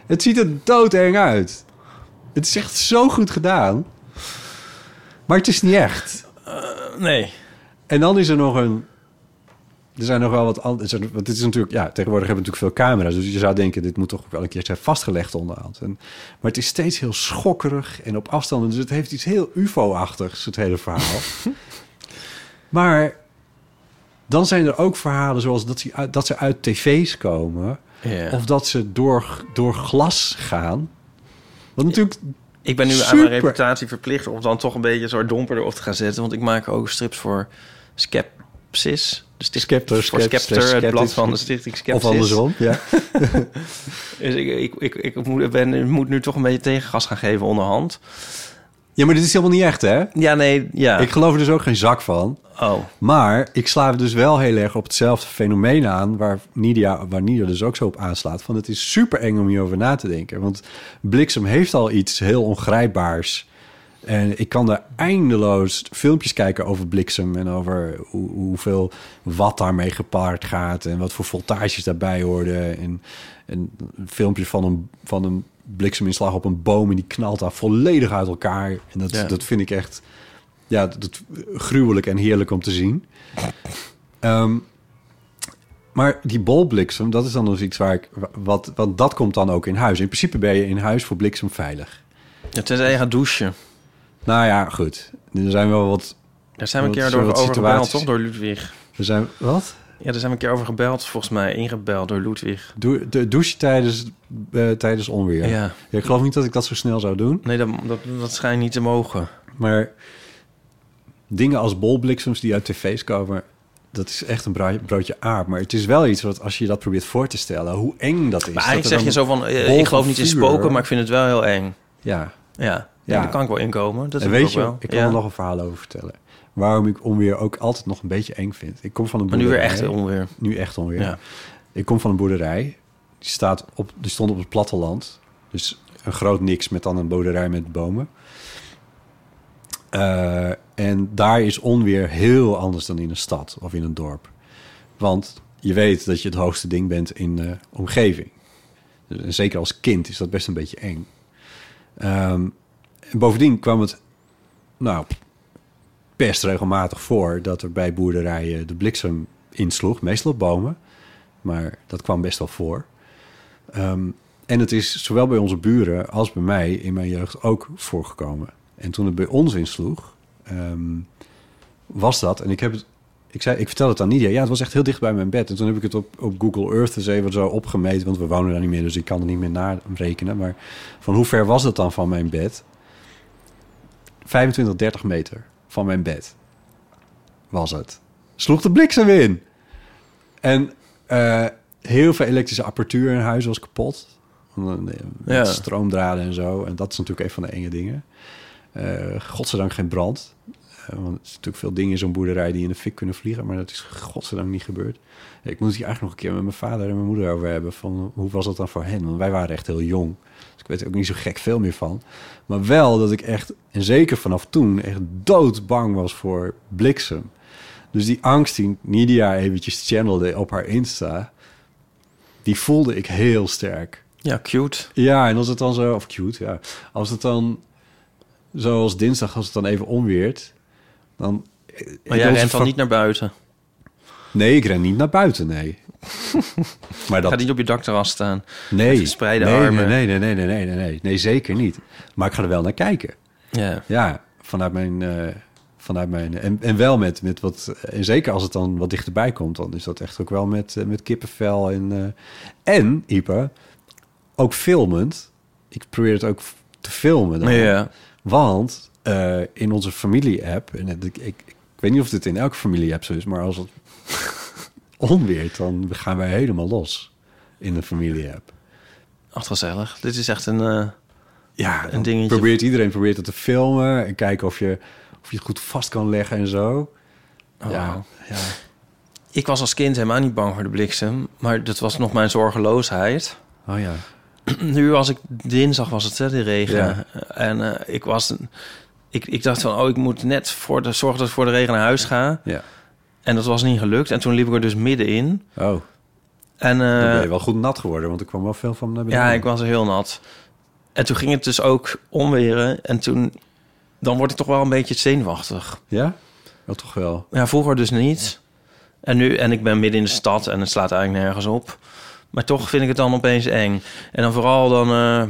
[SPEAKER 1] Het ziet er doodeng uit. Het is echt zo goed gedaan. Maar het is niet echt.
[SPEAKER 2] Nee.
[SPEAKER 1] En dan is er nog een... Er zijn nog wel wat anders. Want dit is natuurlijk... Ja, tegenwoordig hebben we natuurlijk veel camera's. Dus je zou denken, dit moet toch wel een keer zijn vastgelegd onderhand. En, maar het is steeds heel schokkerig en op afstanden. Dus het heeft iets heel ufo-achtigs, het hele verhaal. maar dan zijn er ook verhalen zoals dat, ze uit, dat ze uit tv's komen.
[SPEAKER 2] Ja.
[SPEAKER 1] Of dat ze door, door glas gaan. Wat natuurlijk...
[SPEAKER 2] Ik ben nu aan
[SPEAKER 1] Super.
[SPEAKER 2] mijn reputatie verplicht om dan toch een beetje een soort domper erop te gaan zetten. Want ik maak ook strips voor Skepsis. De sticht-
[SPEAKER 1] Scepter,
[SPEAKER 2] voor
[SPEAKER 1] Skept-
[SPEAKER 2] Skepter, het
[SPEAKER 1] Skeptisch.
[SPEAKER 2] blad van de stichting Skepsis.
[SPEAKER 1] Of andersom, ja.
[SPEAKER 2] Dus ik, ik, ik, ik, moet, ben, moet nu toch een beetje tegengas gaan geven onderhand.
[SPEAKER 1] Ja, maar dit is helemaal niet echt, hè?
[SPEAKER 2] Ja, nee, ja.
[SPEAKER 1] Ik geloof er dus ook geen zak van.
[SPEAKER 2] oh,
[SPEAKER 1] Maar ik sla dus wel heel erg op hetzelfde fenomeen aan... waar Nidia, waar Nidia dus ook zo op aanslaat. Van het is super eng om hierover na te denken. Want bliksem heeft al iets heel ongrijpbaars. En ik kan er eindeloos filmpjes kijken over bliksem... en over hoe, hoeveel wat daarmee gepaard gaat... en wat voor voltages daarbij horen. En, en een filmpje van een, van een blikseminslag op een boom... en die knalt daar volledig uit elkaar. En dat,
[SPEAKER 2] Ja.
[SPEAKER 1] dat vind ik echt ja, dat, dat- gruwelijk en heerlijk om te zien. Ehm, maar die bolbliksem, dat is dan dus iets waar ik... wa- Wat, want dat komt dan ook in huis. In principe ben je in huis voor bliksem veilig.
[SPEAKER 2] ja, tenzij je gaat douchen.
[SPEAKER 1] Nou ja, goed. Er zijn wel wat...
[SPEAKER 2] Daar zijn we een
[SPEAKER 1] Dat
[SPEAKER 2] keer
[SPEAKER 1] is wel
[SPEAKER 2] door
[SPEAKER 1] wat
[SPEAKER 2] over gebeld,
[SPEAKER 1] situaties.
[SPEAKER 2] toch? Door Ludwig.
[SPEAKER 1] Er zijn, wat?
[SPEAKER 2] Ja, daar zijn we een keer over gebeld, volgens mij. Ingebeld door Ludwig.
[SPEAKER 1] Doe, de douche tijdens, eh, tijdens onweer.
[SPEAKER 2] Ja.
[SPEAKER 1] Ja, Ik geloof niet dat ik dat zo snel zou doen.
[SPEAKER 2] Nee, dat, dat, dat schijnt niet te mogen.
[SPEAKER 1] Maar dingen als bolbliksems die uit tv's komen... dat is echt een bra- broodje aard. Maar het is wel iets wat, als je dat probeert voor te stellen... hoe eng dat is.
[SPEAKER 2] Maar
[SPEAKER 1] Dat
[SPEAKER 2] eigenlijk
[SPEAKER 1] er
[SPEAKER 2] zeg je zo
[SPEAKER 1] dan
[SPEAKER 2] van, eh,
[SPEAKER 1] bol
[SPEAKER 2] ik geloof
[SPEAKER 1] van
[SPEAKER 2] niet in
[SPEAKER 1] vuur-
[SPEAKER 2] spoken, maar ik vind het wel heel eng.
[SPEAKER 1] Ja,
[SPEAKER 2] Ja,
[SPEAKER 1] Ja.
[SPEAKER 2] ja. daar kan ik wel inkomen. Dat
[SPEAKER 1] en
[SPEAKER 2] doe
[SPEAKER 1] weet
[SPEAKER 2] ik
[SPEAKER 1] je,
[SPEAKER 2] ook wel.
[SPEAKER 1] ik kan
[SPEAKER 2] Ja.
[SPEAKER 1] er nog een verhaal over vertellen. Waarom ik onweer ook altijd nog een beetje eng vind. Ik kom van een
[SPEAKER 2] Maar nu weer
[SPEAKER 1] boerderij-
[SPEAKER 2] echt onweer.
[SPEAKER 1] Nu echt onweer.
[SPEAKER 2] Ja.
[SPEAKER 1] Ik kom van een boerderij. Die, staat op, die stond op het platteland. Dus een groot niks met dan een boerderij met bomen. Eh, en daar is onweer heel anders dan in een stad of in een dorp. Want je weet dat je het hoogste ding bent in de omgeving. Dus, en zeker als kind is dat best een beetje eng. Ehm, en bovendien kwam het nou, best regelmatig voor dat er bij boerderijen de bliksem insloeg. Meestal op bomen, maar dat kwam best wel voor. Ehm, en het is zowel bij onze buren als bij mij in mijn jeugd ook voorgekomen. En toen het bij ons insloeg, ehm, was dat. En ik heb het. Ik, zei, ik vertel het aan Nidia. Ja, het was echt heel dicht bij mijn bed. En toen heb ik het op, op Google Earth eens even zo opgemeten. Want we wonen daar niet meer, dus ik kan er niet meer narekenen. Maar van hoe ver was dat dan van mijn bed? 25, 30 meter van mijn bed was het. Sloeg de bliksem in. En eh, heel veel elektrische apparatuur in huis was kapot. eh, Met
[SPEAKER 2] Ja.
[SPEAKER 1] stroomdraden en zo. En dat is natuurlijk een van de enge dingen. Eh godzijdank geen brand. Eh, want er zijn natuurlijk veel dingen in zo'n boerderij die in de fik kunnen vliegen. Maar dat is godzijdank niet gebeurd. Ik moet het hier eigenlijk nog een keer met mijn vader en mijn moeder over hebben. Van hoe was dat dan voor hen? Want wij waren echt heel jong. Dus ik weet er ook niet zo gek veel meer van. Maar wel dat ik echt, en zeker vanaf toen, echt doodbang was voor bliksem. Dus die angst die Nidia eventjes channelde op haar Insta, die voelde ik heel sterk.
[SPEAKER 2] Ja, cute.
[SPEAKER 1] Ja, en als het dan zo, of cute, ja. Als het dan, zoals dinsdag, als het dan even onweert, dan...
[SPEAKER 2] Maar jij rent dan niet naar buiten.
[SPEAKER 1] Nee, ik ren niet naar buiten, nee. maar
[SPEAKER 2] Ga
[SPEAKER 1] dat,
[SPEAKER 2] niet op je dakterras staan.
[SPEAKER 1] nee.
[SPEAKER 2] met gespreide
[SPEAKER 1] nee,
[SPEAKER 2] armen.
[SPEAKER 1] Nee, nee, nee, nee, nee, nee, nee. Nee, zeker niet. Maar ik ga er wel naar kijken.
[SPEAKER 2] Ja.
[SPEAKER 1] Ja, vanuit mijn. eh, vanuit mijn en, en wel met, met wat. En zeker als het dan wat dichterbij komt, dan is dat echt ook wel met, eh, met kippenvel. En, eh, en Ipe, ook filmend. Ik probeer het ook f- te filmen. Dan.
[SPEAKER 2] Ja.
[SPEAKER 1] Want eh, in onze familie-app. En het- ik, ik, ik weet niet of dit in elke familie-app zo is, maar als het onweert, dan gaan wij helemaal los in de familie-app.
[SPEAKER 2] Ach, gezellig. Dit is echt een... eh,
[SPEAKER 1] Ja,
[SPEAKER 2] Een
[SPEAKER 1] dan
[SPEAKER 2] dingetje.
[SPEAKER 1] Probeert iedereen probeert het te filmen en kijken of je, of je het goed vast kan leggen en zo.
[SPEAKER 2] oh,
[SPEAKER 1] Ja,
[SPEAKER 2] wauw. Ik was als kind helemaal niet bang voor de bliksem. Maar dat was nog mijn zorgeloosheid.
[SPEAKER 1] Oh ja.
[SPEAKER 2] nu was ik dinsdag was het hè, die regen
[SPEAKER 1] Ja.
[SPEAKER 2] en eh, ik was ik, ik dacht van oh ik moet net voor de zorg dat ik voor de regen naar huis ga
[SPEAKER 1] Ja.
[SPEAKER 2] en dat was niet gelukt en toen liep ik er dus middenin
[SPEAKER 1] Oh,
[SPEAKER 2] en eh,
[SPEAKER 1] dan ben je wel goed nat geworden, want er kwam wel veel van naar beneden.
[SPEAKER 2] ja ik was er heel nat en toen ging het dus ook omweren en toen dan word ik toch wel een beetje zenuwachtig
[SPEAKER 1] Ja? Wel toch wel.
[SPEAKER 2] ja vroeger dus niet en nu en ik ben midden in de stad en het slaat eigenlijk nergens op maar toch vind ik het dan opeens eng. En dan vooral dan, eh,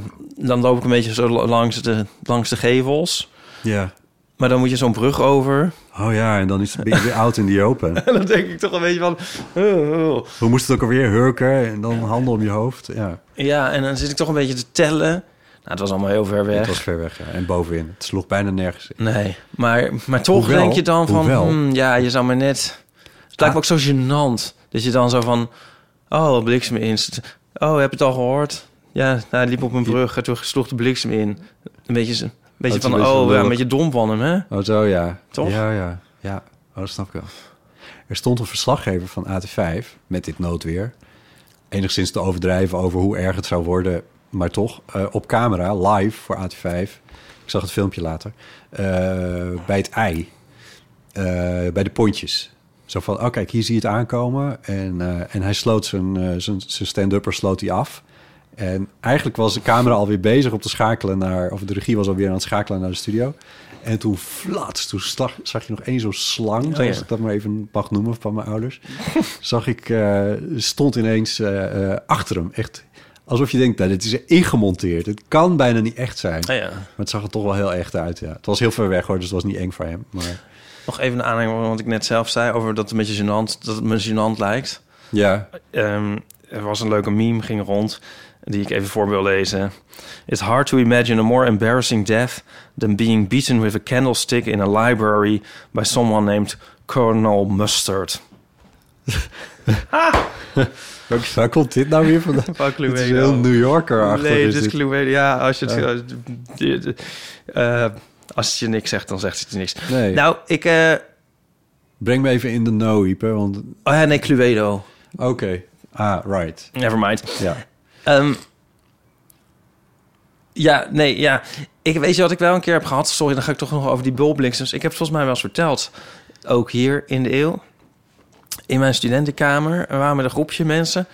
[SPEAKER 2] dan loop ik een beetje zo langs de, langs de gevels.
[SPEAKER 1] Ja.
[SPEAKER 2] Maar dan moet je zo'n brug over.
[SPEAKER 1] Oh ja, en dan is het weer out in the open.
[SPEAKER 2] En dan denk ik toch een beetje van... oh, oh.
[SPEAKER 1] Hoe moest het ook alweer? Hurken en dan handen om je hoofd. Ja,
[SPEAKER 2] Ja, en dan zit ik toch een beetje te tellen. Nou, het was allemaal heel ver
[SPEAKER 1] het
[SPEAKER 2] weg.
[SPEAKER 1] was ver weg. Ja. En bovenin. Het sloeg bijna nergens in.
[SPEAKER 2] Nee, maar, maar toch
[SPEAKER 1] Hoewel,
[SPEAKER 2] denk je dan van...
[SPEAKER 1] hoewel. Ah.
[SPEAKER 2] hmm, ja, je zou maar net... Het lijkt me ook zo gênant. Dat je dan zo van... Oh, bliksem in. Oh, heb je het al gehoord? Ja, nou, hij liep op een brug en toen sloeg de bliksem in. Een beetje, zo- een beetje
[SPEAKER 1] is een
[SPEAKER 2] van...
[SPEAKER 1] beetje
[SPEAKER 2] oh, ja,
[SPEAKER 1] lullig.
[SPEAKER 2] een beetje dom van hem, hè?
[SPEAKER 1] Oh, zo ja.
[SPEAKER 2] Toch?
[SPEAKER 1] Ja, ja. Ja, oh, dat snap ik wel. Er stond een verslaggever van AT5 met dit noodweer. Enigszins te overdrijven over hoe erg het zou worden. Maar toch, eh, op camera, live voor AT5. Ik zag het filmpje later. eh, bij het ei. Eh, bij de pontjes. Zo van, oh kijk, hier zie je het aankomen. En, eh, en hij sloot zijn, eh, zijn, zijn stand-upper sloot hij af. En eigenlijk was de camera alweer bezig om te schakelen naar... of de regie was alweer aan het schakelen naar de studio. En toen flats, toen zag, zag je nog één zo'n slang... zoals
[SPEAKER 2] ja.
[SPEAKER 1] ik dat maar even mag noemen van mijn ouders. zag ik, eh, stond ineens eh, eh, achter hem. Echt alsof je denkt, nou, dit is ingemonteerd. Het kan bijna niet echt zijn.
[SPEAKER 2] Nou ja.
[SPEAKER 1] Maar het zag er toch wel heel echt uit, ja. Het was heel ver weg, hoor, dus het was niet eng voor hem. Maar
[SPEAKER 2] Nog even een aanleiding van wat ik net zelf zei... over dat het een beetje gênant... dat het me gênant lijkt.
[SPEAKER 1] ja,
[SPEAKER 2] Ehm, er was een leuke meme ging rond die ik even voor wil lezen. It's hard to imagine a more embarrassing death than being beaten with a candlestick in a library by someone named Colonel Mustard.
[SPEAKER 1] Waar- Waar komt dit nou weer vandaan?
[SPEAKER 2] Van Cluedo.
[SPEAKER 1] Het is heel New Yorker achter. dus
[SPEAKER 2] Nee, dus dit is Cluedo. Ja, als je het eh, eh, als het je niks zegt, dan zegt het je niks.
[SPEAKER 1] Nee.
[SPEAKER 2] Nou, ik eh
[SPEAKER 1] Breng me even in de know, Ipe, want...
[SPEAKER 2] oh ja, nee, Cluedo.
[SPEAKER 1] Oké. Ah, right.
[SPEAKER 2] Never mind.
[SPEAKER 1] Ja.
[SPEAKER 2] Ehm, Ja, nee, ja. Ik weet je wat ik wel een keer heb gehad? Sorry, dan ga ik toch nog over die bulbliksems. Ik heb het volgens mij wel eens verteld. Ook hier in de eeuw. In mijn studentenkamer er waren we een groepje mensen.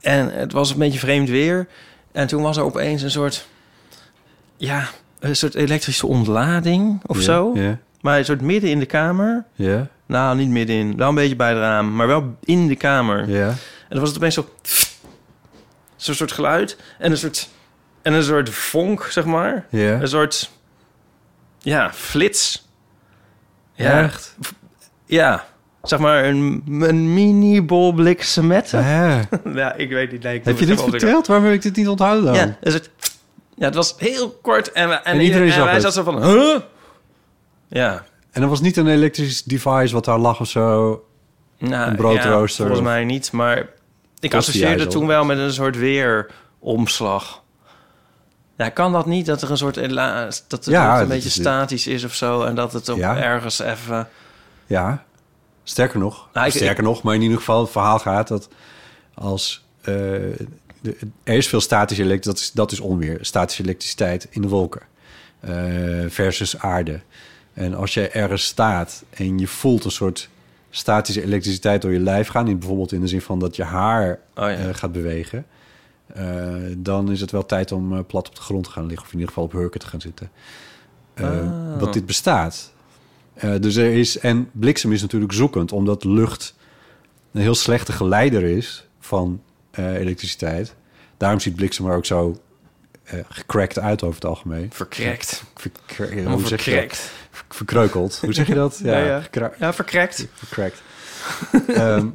[SPEAKER 2] En het was een beetje vreemd weer. En toen was er opeens een soort... Ja, een soort elektrische ontlading of
[SPEAKER 1] Ja,
[SPEAKER 2] zo.
[SPEAKER 1] Ja,
[SPEAKER 2] Maar een soort midden in de kamer.
[SPEAKER 1] ja,
[SPEAKER 2] Nou, niet midden in. Wel een beetje bij het raam. Maar wel in de kamer.
[SPEAKER 1] ja.
[SPEAKER 2] En dan was het opeens zo... Zo'n soort geluid. En een soort... En een soort vonk, zeg maar.
[SPEAKER 1] ja.
[SPEAKER 2] Een soort... Ja, flits.
[SPEAKER 1] Echt?
[SPEAKER 2] Ja. Zeg maar een, een mini-bol bliksemetten.
[SPEAKER 1] Hè?
[SPEAKER 2] ja, ik weet niet. nee, ik doe
[SPEAKER 1] Heb Ah, je
[SPEAKER 2] het
[SPEAKER 1] dit
[SPEAKER 2] zelf altijd.
[SPEAKER 1] verteld? Waarom heb ik dit niet onthouden dan?
[SPEAKER 2] Ja, een soort... Ja, het was heel kort. En, we- en,
[SPEAKER 1] En iedereen
[SPEAKER 2] en
[SPEAKER 1] zag
[SPEAKER 2] wij
[SPEAKER 1] het.
[SPEAKER 2] zaten zo van... Huh? Ja.
[SPEAKER 1] En dat was niet een elektrisch device wat daar lag of zo.
[SPEAKER 2] Nou,
[SPEAKER 1] Een broodrooster
[SPEAKER 2] Ja, volgens
[SPEAKER 1] of-
[SPEAKER 2] mij niet, maar ik
[SPEAKER 1] Kost die
[SPEAKER 2] associeerde
[SPEAKER 1] ijzel.
[SPEAKER 2] toen wel met een soort weeromslag. Ja, kan dat niet dat er een soort ela- dat het
[SPEAKER 1] Ja,
[SPEAKER 2] een
[SPEAKER 1] dat
[SPEAKER 2] beetje
[SPEAKER 1] is het.
[SPEAKER 2] statisch is of zo en dat het op
[SPEAKER 1] Ja.
[SPEAKER 2] ergens even oh
[SPEAKER 1] Ja, sterker nog.
[SPEAKER 2] Nou, ik-
[SPEAKER 1] sterker nog, maar in ieder geval het verhaal gaat dat als... eh, de, er is veel statische elektriciteit, dat is, dat is onweer. Statische elektriciteit in de wolken eh, versus aarde. En als je ergens staat en je voelt een soort statische elektriciteit door je lijf gaan... In, bijvoorbeeld in de zin van dat je haar
[SPEAKER 2] Oh ja.
[SPEAKER 1] eh, gaat bewegen... eh, dan is het wel tijd om eh, plat op de grond te gaan liggen... of in ieder geval op hurken te gaan zitten. Eh,
[SPEAKER 2] Ah.
[SPEAKER 1] Dat dit bestaat. Eh, dus er is, en bliksem is natuurlijk zoekend, omdat lucht een heel slechte geleider is van eh, elektriciteit. Daarom ziet bliksem er ook zo eh gecrackt uit over het algemeen.
[SPEAKER 2] verkrekt.
[SPEAKER 1] Verkra-
[SPEAKER 2] Helemaal
[SPEAKER 1] hoe zeg je dat?
[SPEAKER 2] verkrekt.
[SPEAKER 1] Ver- Verkreukeld. Hoe zeg je dat?
[SPEAKER 2] Ja, ja.
[SPEAKER 1] gekra-
[SPEAKER 2] Ja, verkrekt.
[SPEAKER 1] verkrakt. Ehm,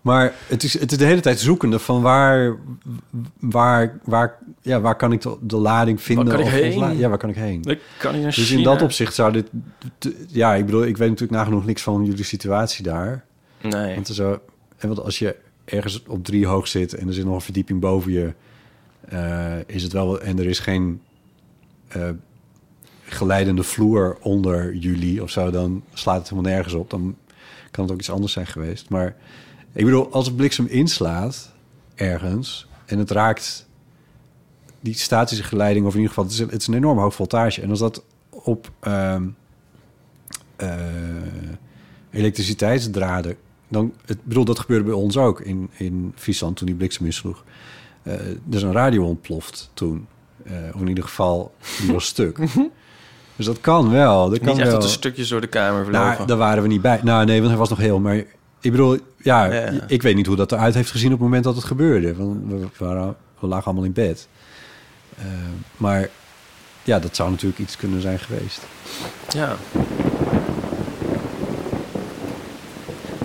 [SPEAKER 1] maar het is, het is de hele tijd zoekende van waar, waar, waar, ja, waar kan ik de, de lading vinden?
[SPEAKER 2] kan ik
[SPEAKER 1] of ontla-
[SPEAKER 2] heen?
[SPEAKER 1] Ja, waar kan ik heen?
[SPEAKER 2] Dat kan niet naar
[SPEAKER 1] Dus in
[SPEAKER 2] China.
[SPEAKER 1] dat opzicht zou dit... te- Ja, ik bedoel, ik weet natuurlijk nagenoeg niks van jullie situatie daar.
[SPEAKER 2] Nee.
[SPEAKER 1] Want, er zou, en want als je ergens op drie hoog zit en er zit nog een verdieping boven je... eh, is het wel... En er is geen eh, geleidende vloer onder jullie of zo... dan slaat het helemaal nergens op. Dan kan het ook iets anders zijn geweest. Maar ik bedoel, als het bliksem inslaat ergens... en het raakt die statische geleiding, of in ieder geval, het is, het is een enorm hoog voltage. En als dat op ehm, eh, elektriciteitsdraden, dan, het, ik bedoel, dat gebeurde bij ons ook in, in Friesland toen die bliksem insloeg. Eh er is een radio ontploft toen. Eh, of in ieder geval, die was stuk. Dus dat kan wel. Dat kan
[SPEAKER 2] Niet echt
[SPEAKER 1] wel.
[SPEAKER 2] dat er stukjes door de kamer vlogen.
[SPEAKER 1] Nou, daar waren we niet bij. Nou, nee, want hij was nog heel. Maar ik bedoel, ja,
[SPEAKER 2] Ja.
[SPEAKER 1] ik weet niet hoe dat eruit heeft gezien op het moment dat het gebeurde. Want we, waren, we lagen allemaal in bed. Eh, maar ja, dat zou natuurlijk iets kunnen zijn geweest.
[SPEAKER 2] Ja.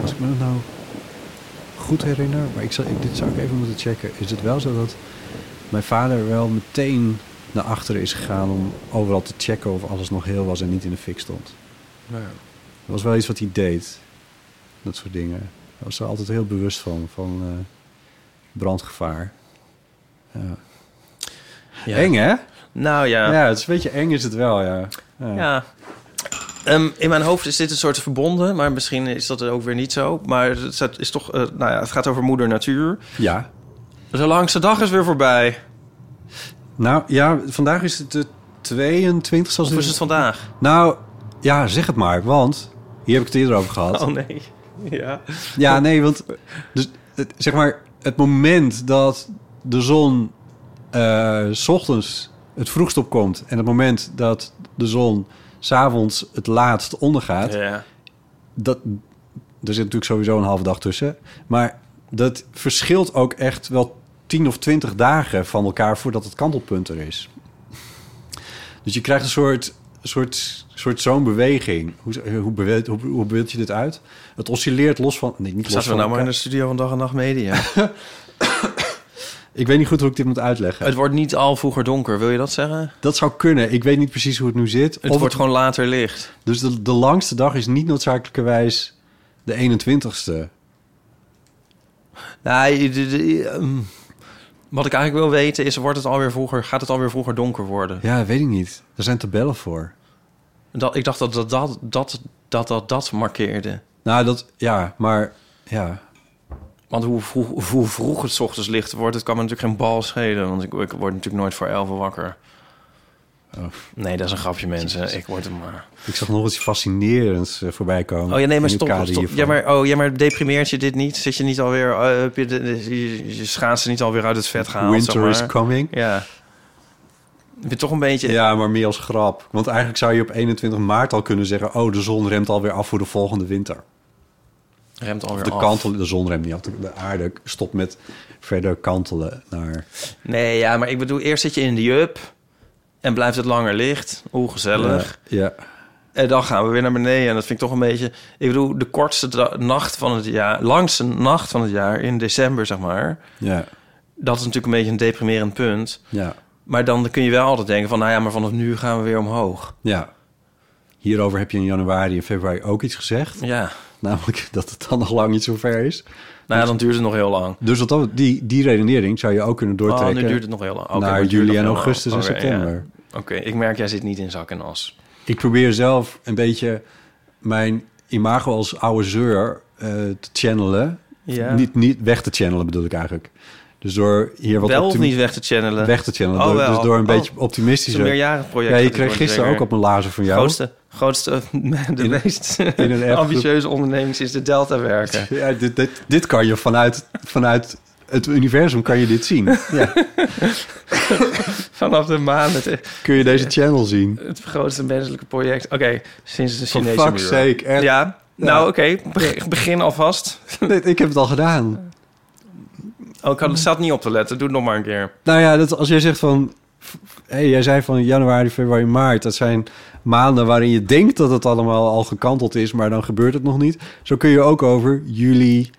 [SPEAKER 1] Als ik me dat nou goed herinner, maar ik zal, ik, dit zou ik even moeten checken. Is het wel zo dat mijn vader wel meteen naar achteren is gegaan om overal te checken of alles nog heel was en niet in de fik stond?
[SPEAKER 2] Nou ja.
[SPEAKER 1] Dat was wel iets wat hij deed. Dat soort dingen. Hij was er altijd heel bewust van, van eh, brandgevaar. Ja.
[SPEAKER 2] Ja.
[SPEAKER 1] Eng, hè?
[SPEAKER 2] Nou ja.
[SPEAKER 1] Ja, het is een beetje eng is het wel, ja. Ja.
[SPEAKER 2] Ja. Ehm, in mijn hoofd is dit een soort verbonden, maar misschien is dat ook weer niet zo. Maar het, staat- is toch, eh, nou ja, het gaat over moeder natuur.
[SPEAKER 1] Ja.
[SPEAKER 2] De langste dag is weer voorbij.
[SPEAKER 1] Nou, ja, vandaag is het de 22 zoals
[SPEAKER 2] Of is het vandaag?
[SPEAKER 1] Nou, ja, zeg het maar, want hier heb ik het eerder over gehad.
[SPEAKER 2] Oh nee. Ja.
[SPEAKER 1] Ja, nee, want dus, het, zeg maar, het moment dat de zon eh, s ochtends het vroegst opkomt en het moment dat de zon s'avonds het laatst ondergaat,
[SPEAKER 2] Ja.
[SPEAKER 1] dat, er zit natuurlijk sowieso een halve dag tussen, maar dat verschilt ook echt wel 10 of 20 dagen van elkaar voordat het kantelpunt er is. Dus je krijgt een soort, soort, soort zo'n beweging. Hoe, hoe, beeld, hoe, hoe beeld je dit uit? Het oscilleert los van... Nee, niet los
[SPEAKER 2] Zaten
[SPEAKER 1] van
[SPEAKER 2] we nou maar in
[SPEAKER 1] elkaar.
[SPEAKER 2] de studio van dag en nacht media.
[SPEAKER 1] Ik weet niet goed hoe ik dit moet uitleggen.
[SPEAKER 2] het wordt niet al vroeger donker, wil je dat zeggen?
[SPEAKER 1] Dat zou kunnen. Ik weet niet precies hoe het nu zit.
[SPEAKER 2] Het
[SPEAKER 1] Of
[SPEAKER 2] wordt gewoon later licht.
[SPEAKER 1] Dus de, de langste dag is niet noodzakelijkerwijs de 21ste.
[SPEAKER 2] Nou, je- de- de- ehm, wat ik eigenlijk wil weten is, wordt het alweer vroeger, gaat het alweer vroeger donker worden?
[SPEAKER 1] Ja, weet ik niet. Er zijn tabellen voor.
[SPEAKER 2] Dat, ik dacht dat dat dat, dat, dat, dat, dat markeerde.
[SPEAKER 1] Nou, dat... Ja, maar... Ja.
[SPEAKER 2] Want hoe vroeg, hoe vroeg het 's ochtends licht wordt, het kan me natuurlijk geen bal schelen. Want ik, ik word natuurlijk nooit voor elf wakker.
[SPEAKER 1] Oh.
[SPEAKER 2] Nee, dat is een grapje, mensen. Ik word hem maar.
[SPEAKER 1] Ik zag nog iets fascinerends eh, voorbij komen.
[SPEAKER 2] Oh ja, nee, maar
[SPEAKER 1] in het
[SPEAKER 2] stop.
[SPEAKER 1] kader
[SPEAKER 2] stop.
[SPEAKER 1] hiervan.
[SPEAKER 2] Ja, maar, oh, ja, maar deprimeert je dit niet? Zit je niet alweer... eh, heb je, de- de- je, je schaatsen niet alweer uit het vet gehaald?
[SPEAKER 1] Winter
[SPEAKER 2] zeg maar.
[SPEAKER 1] is coming.
[SPEAKER 2] Ja. Heb je toch een beetje...
[SPEAKER 1] Ja, maar meer als grap. Want eigenlijk zou je op 21 maart al kunnen zeggen... oh, de zon remt alweer af voor de volgende winter.
[SPEAKER 2] Remt alweer
[SPEAKER 1] De,
[SPEAKER 2] af.
[SPEAKER 1] kantel, de zon remt niet af. De de aarde stopt met verder kantelen naar... eh,
[SPEAKER 2] Nee, ja, maar ik bedoel, eerst zit je in de jup... en blijft het langer licht. Hoe gezellig.
[SPEAKER 1] Ja,
[SPEAKER 2] En dan gaan we weer naar beneden. En dat vind ik toch een beetje... Ik bedoel, de kortste da- nacht van het jaar... langste nacht van het jaar in december, zeg maar.
[SPEAKER 1] ja,
[SPEAKER 2] Dat is natuurlijk een beetje een deprimerend punt.
[SPEAKER 1] ja,
[SPEAKER 2] Maar dan kun je wel altijd denken van... nou ja, maar vanaf nu gaan we weer omhoog.
[SPEAKER 1] ja. Hierover heb je in januari en februari ook iets gezegd.
[SPEAKER 2] Ja.
[SPEAKER 1] Namelijk dat het dan nog lang niet zo ver is.
[SPEAKER 2] Nou ja, dan duurt het nog heel lang.
[SPEAKER 1] Dus wat dat, die, die redenering zou je ook kunnen
[SPEAKER 2] Oh,
[SPEAKER 1] doortrekken...
[SPEAKER 2] nu duurt het nog heel lang. Oké, maar
[SPEAKER 1] naar
[SPEAKER 2] het duurt
[SPEAKER 1] juli
[SPEAKER 2] nog
[SPEAKER 1] en
[SPEAKER 2] heel lang.
[SPEAKER 1] augustus en
[SPEAKER 2] Oké, ja.
[SPEAKER 1] september.
[SPEAKER 2] Oké, ik merk, jij zit niet in zak en as.
[SPEAKER 1] Ik probeer zelf een beetje mijn imago als oude zeur eh, te channelen.
[SPEAKER 2] Ja.
[SPEAKER 1] Niet, niet weg te channelen bedoel ik eigenlijk. Dus door hier wat
[SPEAKER 2] Wel of
[SPEAKER 1] optimi-
[SPEAKER 2] niet weg te channelen?
[SPEAKER 1] weg te channelen.
[SPEAKER 2] Oh,
[SPEAKER 1] door,
[SPEAKER 2] wel.
[SPEAKER 1] dus door een
[SPEAKER 2] Oh,
[SPEAKER 1] beetje
[SPEAKER 2] Het is
[SPEAKER 1] optimistischer.
[SPEAKER 2] een meerjarig project.
[SPEAKER 1] ja, je kreeg gisteren ook op mijn lazer van jou.
[SPEAKER 2] Grootste, grootste, de
[SPEAKER 1] een-
[SPEAKER 2] meest
[SPEAKER 1] in een app-
[SPEAKER 2] ambitieuze onderneming sinds de Delta werken.
[SPEAKER 1] Ja, dit, dit, dit kan je vanuit, vanuit het universum kan je dit zien. Ja,
[SPEAKER 2] Vanaf de maan het,
[SPEAKER 1] kun je deze channel zien.
[SPEAKER 2] het grootste menselijke project. Oké, sinds de
[SPEAKER 1] For
[SPEAKER 2] Chinese
[SPEAKER 1] fuck's
[SPEAKER 2] muur.
[SPEAKER 1] sake. echt.
[SPEAKER 2] Ja, nou oké, be- begin alvast.
[SPEAKER 1] Nee, ik heb het al gedaan.
[SPEAKER 2] Oh, ik had, zat niet op te letten. Doe het nog maar een keer.
[SPEAKER 1] Nou ja, dat, als jij zegt van... f- Hey, jij zei van januari, februari, maart. Dat zijn maanden waarin je denkt dat het allemaal al gekanteld is... maar dan gebeurt het nog niet. Zo kun je ook over juli,